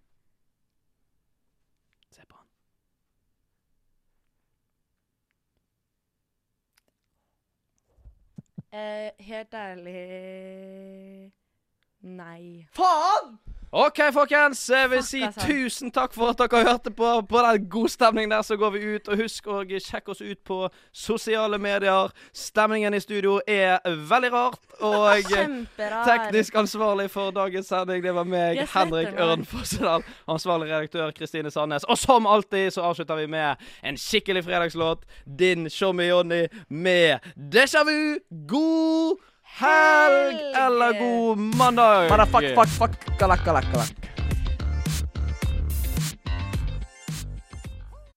A: Se på han.
E: eh, Helt ærlig Nei.
B: Faen!
A: OK, folkens. Jeg vil
E: Fuck,
A: si
E: altså.
A: tusen takk for at dere hørte på. På den gode stemningen der så går vi ut. Og husk å sjekke oss ut på sosiale medier. Stemningen i studio er veldig rart. Og eh,
E: Kjemperar.
A: Teknisk ansvarlig for dagens sending, det var meg,
E: Jeg svetter
A: Henrik
E: meg.
A: Ørn Fossedal. Ansvarlig redaktør, Kristine Sandnes. Og som alltid så avslutter vi med en skikkelig fredagslåt. Din Tjommi Jonny med Déjà vu. God helg
E: Helg.
A: eller god mandag.
B: Bare fuck, fuck, fuck. Galak, galak, galak.